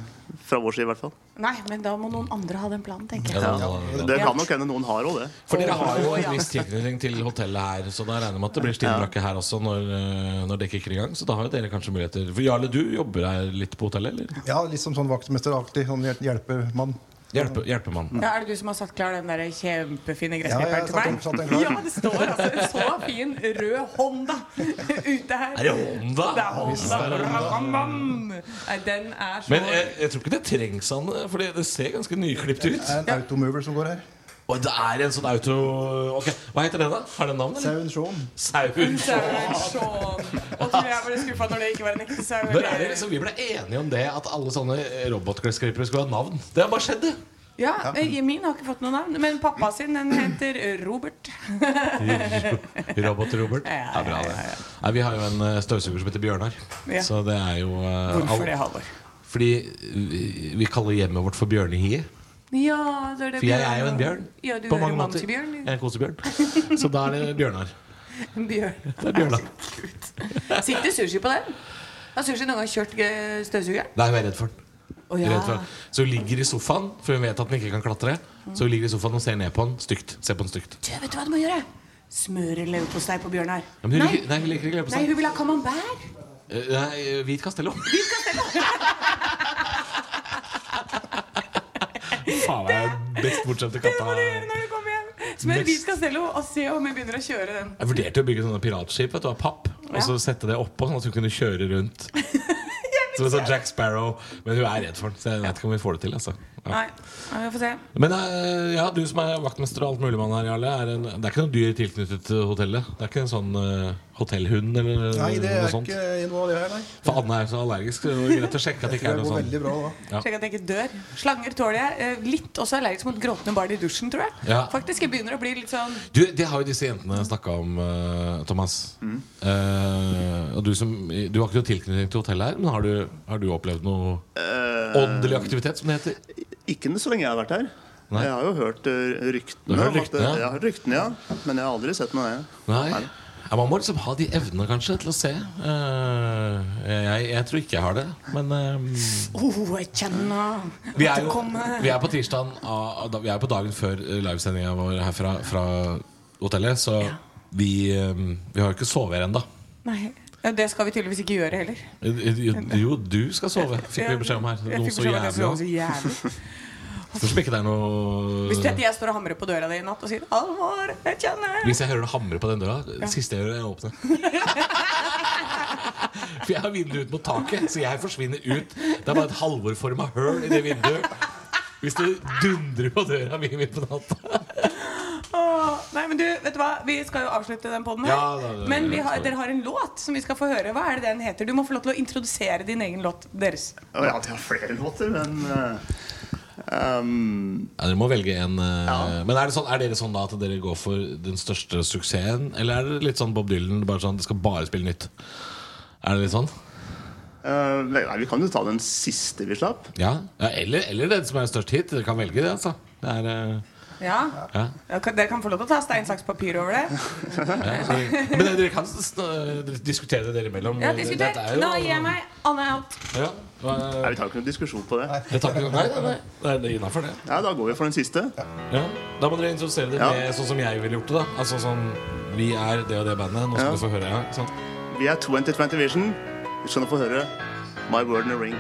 S15: fra vår side i hvert fall.
S5: Nei, men da må noen andre ha den planen, tenker jeg.
S2: Ja, ja, ja.
S15: Det kan nok hende noen har òg det.
S2: For dere har jo en viss tilknytning til hotellet her, så da regner jeg med at det blir stillbrakke her også når, eh, når det kicker i gang. Så da har jo dere kanskje muligheter. For Jarle, du jobber her litt på hotellet, eller?
S13: Ja, litt som sånn vaktmesteraktig. Sånn hjel- hjelpemann.
S2: Hjelpe, hjelpemann.
S5: Ja, er det du som har satt klar den der kjempefine
S13: Ja, jeg
S5: gressklipperen
S13: satt den- satt
S5: til
S13: den klar.
S5: meg? Ja, det står altså en så fin rød Honda ute her.
S2: Er det Honda?
S5: Det er
S2: Visst er det
S5: Honda.
S2: Honda.
S5: Bam, bam. Nei, Den er så
S2: Men eh, jeg, jeg tror ikke det trengs, Anne, for det ser ganske nyklipt
S13: Det
S2: ut.
S13: er en automover som går her.
S2: Og det er en sånn auto... Ok, Hva heter den, da? Har den navn, eller?
S13: Sauen Shaun.
S2: Sauen.
S5: Sauer, sånn. Og så ble jeg ble skuffa når det ikke var en ekte sau.
S2: Når er det liksom, Vi ble enige om det at alle sånne robotgressklippere skulle ha navn. Det har bare skjedd, det.
S5: Ja, eh, min har ikke fått noe navn, men pappa sin den heter Robert.
S2: Robot-Robert.
S5: Ja,
S2: Det er bra, det. Nei, vi har jo en eh, støvsuger som heter Bjørnar.
S5: Ja.
S2: Så det er jo eh,
S5: Hvorfor
S2: all-
S5: det, Halvor?
S2: Fordi vi- vi kaller hjemmet vårt for Bjørnehiet.
S5: Ja, det er det
S2: For jeg er jo en bjørn.
S5: Ja, du
S2: på
S5: er
S2: mange
S5: en
S2: måter.
S5: mamsebjørn.
S2: Jeg er en kosebjørn. Så da er det Bjørnar.
S5: En bjørn.
S2: Det er Bjørnar.
S5: Sitter sushi på den? Har sushi noen gang kjørt eh, støvsugeren?
S2: Nei, hun er redd for den.
S5: Å, ja.
S2: Redd for den. Så hun ligger i sofaen, for hun vet at den ikke kan klatre. Så hun ligger i sofaen og ser ned på den stygt. Ser på den stygt.
S5: Du, vet du hva du må gjøre? Smøre leverpostei på Bjørnar.
S2: Ja, men hun liker, nei, hun liker ikke
S5: Nei,
S2: leverpostei.
S5: hun vil ha camembert.
S2: Eh, Nei, eh, Hvit Castello. Faen, jeg er den best bortskjemte katta.
S5: Når du kommer hjem. Smør
S2: Next.
S5: hvit castello og se om hun begynner å kjøre den.
S2: Jeg vurderte å bygge sånne piratskip vet du, av papp
S5: Ja.
S2: og så sette det oppå, sånn at hun kunne kjøre rundt. Som en sånn Jack Sparrow. Men hun er redd for den, så jeg vet ikke om vi får det til. Altså. Ja.
S5: Nei, ja, vi får se.
S2: Men eh, ja, du som er vaktmester og alt mulig, mann her, Jarle. Er en, det er ikke noe dyr tilknyttet til hotellet? Det er ikke en sånn eh, hotellhund eller
S13: Nei, det er
S2: Eh, noe sånt?
S13: ikke noe av det her, nei.
S2: For Anne er jo så allergisk, så det er greit å sjekke at det
S13: Jeg tror
S2: ikke
S13: det
S2: er noe
S13: går
S2: sånn.
S13: veldig bra da.
S2: Ja.
S5: Sjekk at jeg ikke dør. Slanger tåler jeg. Eh, Litt også allergisk mot gråtende barn i dusjen, tror jeg.
S2: Ja.
S5: Faktisk, jeg begynner å bli litt sånn
S2: Du, Det har jo disse jentene snakka om, eh, Thomas.
S13: Mm.
S2: Eh, og du, som, du har ikke noe tilknytning til hotellet her, men har du, har du opplevd noe åndelig aktivitet, som det heter?
S15: Eh, Ikke så lenge jeg har vært her. Jeg har jo hørt eh, ryktene.
S2: Du har hørt
S15: om at det-
S2: ryktene, ja.
S15: Jeg har hørt ryktene, ja. Men jeg har aldri sett noe av det.
S2: Nei. Ja, man må liksom ha de evnene, kanskje, til å se. Eh, jeg, jeg tror ikke jeg har det, men eh,
S5: Åh, Oh, jeg kjenner at
S2: vi, er
S5: det
S2: jo,
S5: kommer.
S2: vi er på tirsdagen av- av- Vi er på dagen før livesendinga vår her fra, fra hotellet, så vi, eh, vi har jo ikke sovet her ennå.
S5: Nei. Ja, Det skal vi tydeligvis ikke gjøre heller.
S2: eh, Jo, du skal sove, fikk vi beskjed om her.
S5: Jeg
S2: Noe
S5: fikk
S2: så
S5: beskjed om at jeg
S2: jævlig.
S5: skulle være så jævlig.
S2: Spørs om ikke det er noe
S5: Hvis du vet at jeg står og hamrer på døra di i natt og sier 'Alvor, jeg kjenner'
S2: Hvis jeg hører det hamre på den døra, det siste jeg gjør, er å åpne. For jeg har vinduet ut mot taket, så jeg forsvinner ut. Det er bare et halvorforma høl i det vinduet. Hvis det dundrer på døra mi midt på natta.
S5: Åh, Nei, men du, vet du hva? Vi skal jo avslutte den podden her.
S2: Ja, da, da, da,
S5: men vi
S2: da,
S5: har,
S2: sorry.
S5: dere har en låt som vi skal få høre. Hva er det den heter? Du må få lov til å introdusere din egen låt deres.
S15: Å, ja, de har flere låter, men eh, um,
S2: Ja, dere må velge en eh, Men er, det sånn, er dere sånn da at dere går for den største suksessen? Eller er det litt sånn Bob Dylan, bare sånn, det skal bare spille nytt? Er det litt sånn?
S15: eh, Nei, vi kan jo ta den siste vi slapp.
S2: Ja, ja eller, eller den som er størst hit. Dere kan velge det, altså. Det er, eh,
S5: Ja?
S2: ja.
S5: Ja, kan- Dere kan få lov til å ta stein, saks, papir over det.
S2: Ja, så- men dere kan s- s- dere diskutere det dere imellom.
S5: Ja, diskuter.
S2: Dette er jo-
S5: Da gir jeg meg. Anne er out.
S2: Ja,
S15: Nei, vi tar ikke noen diskusjon på det.
S2: det tar ikke Nei, nei, nei. Nei, det er innenfor det.
S15: Ja, da går vi for den siste.
S2: Ja. Da må dere introdusere det
S15: Ja.
S2: med sånn som jeg ville gjort det. da Altså sånn Vi er det og det bandet. Nå skal
S15: Ja.
S2: du få høre. Ja. ikke sant?
S15: Vi er 2020 Vision. Du skal nå få høre My Word in a Ring.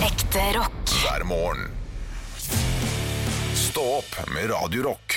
S4: Ekte rock.
S1: hver morgen. Stå opp med Radio Rock.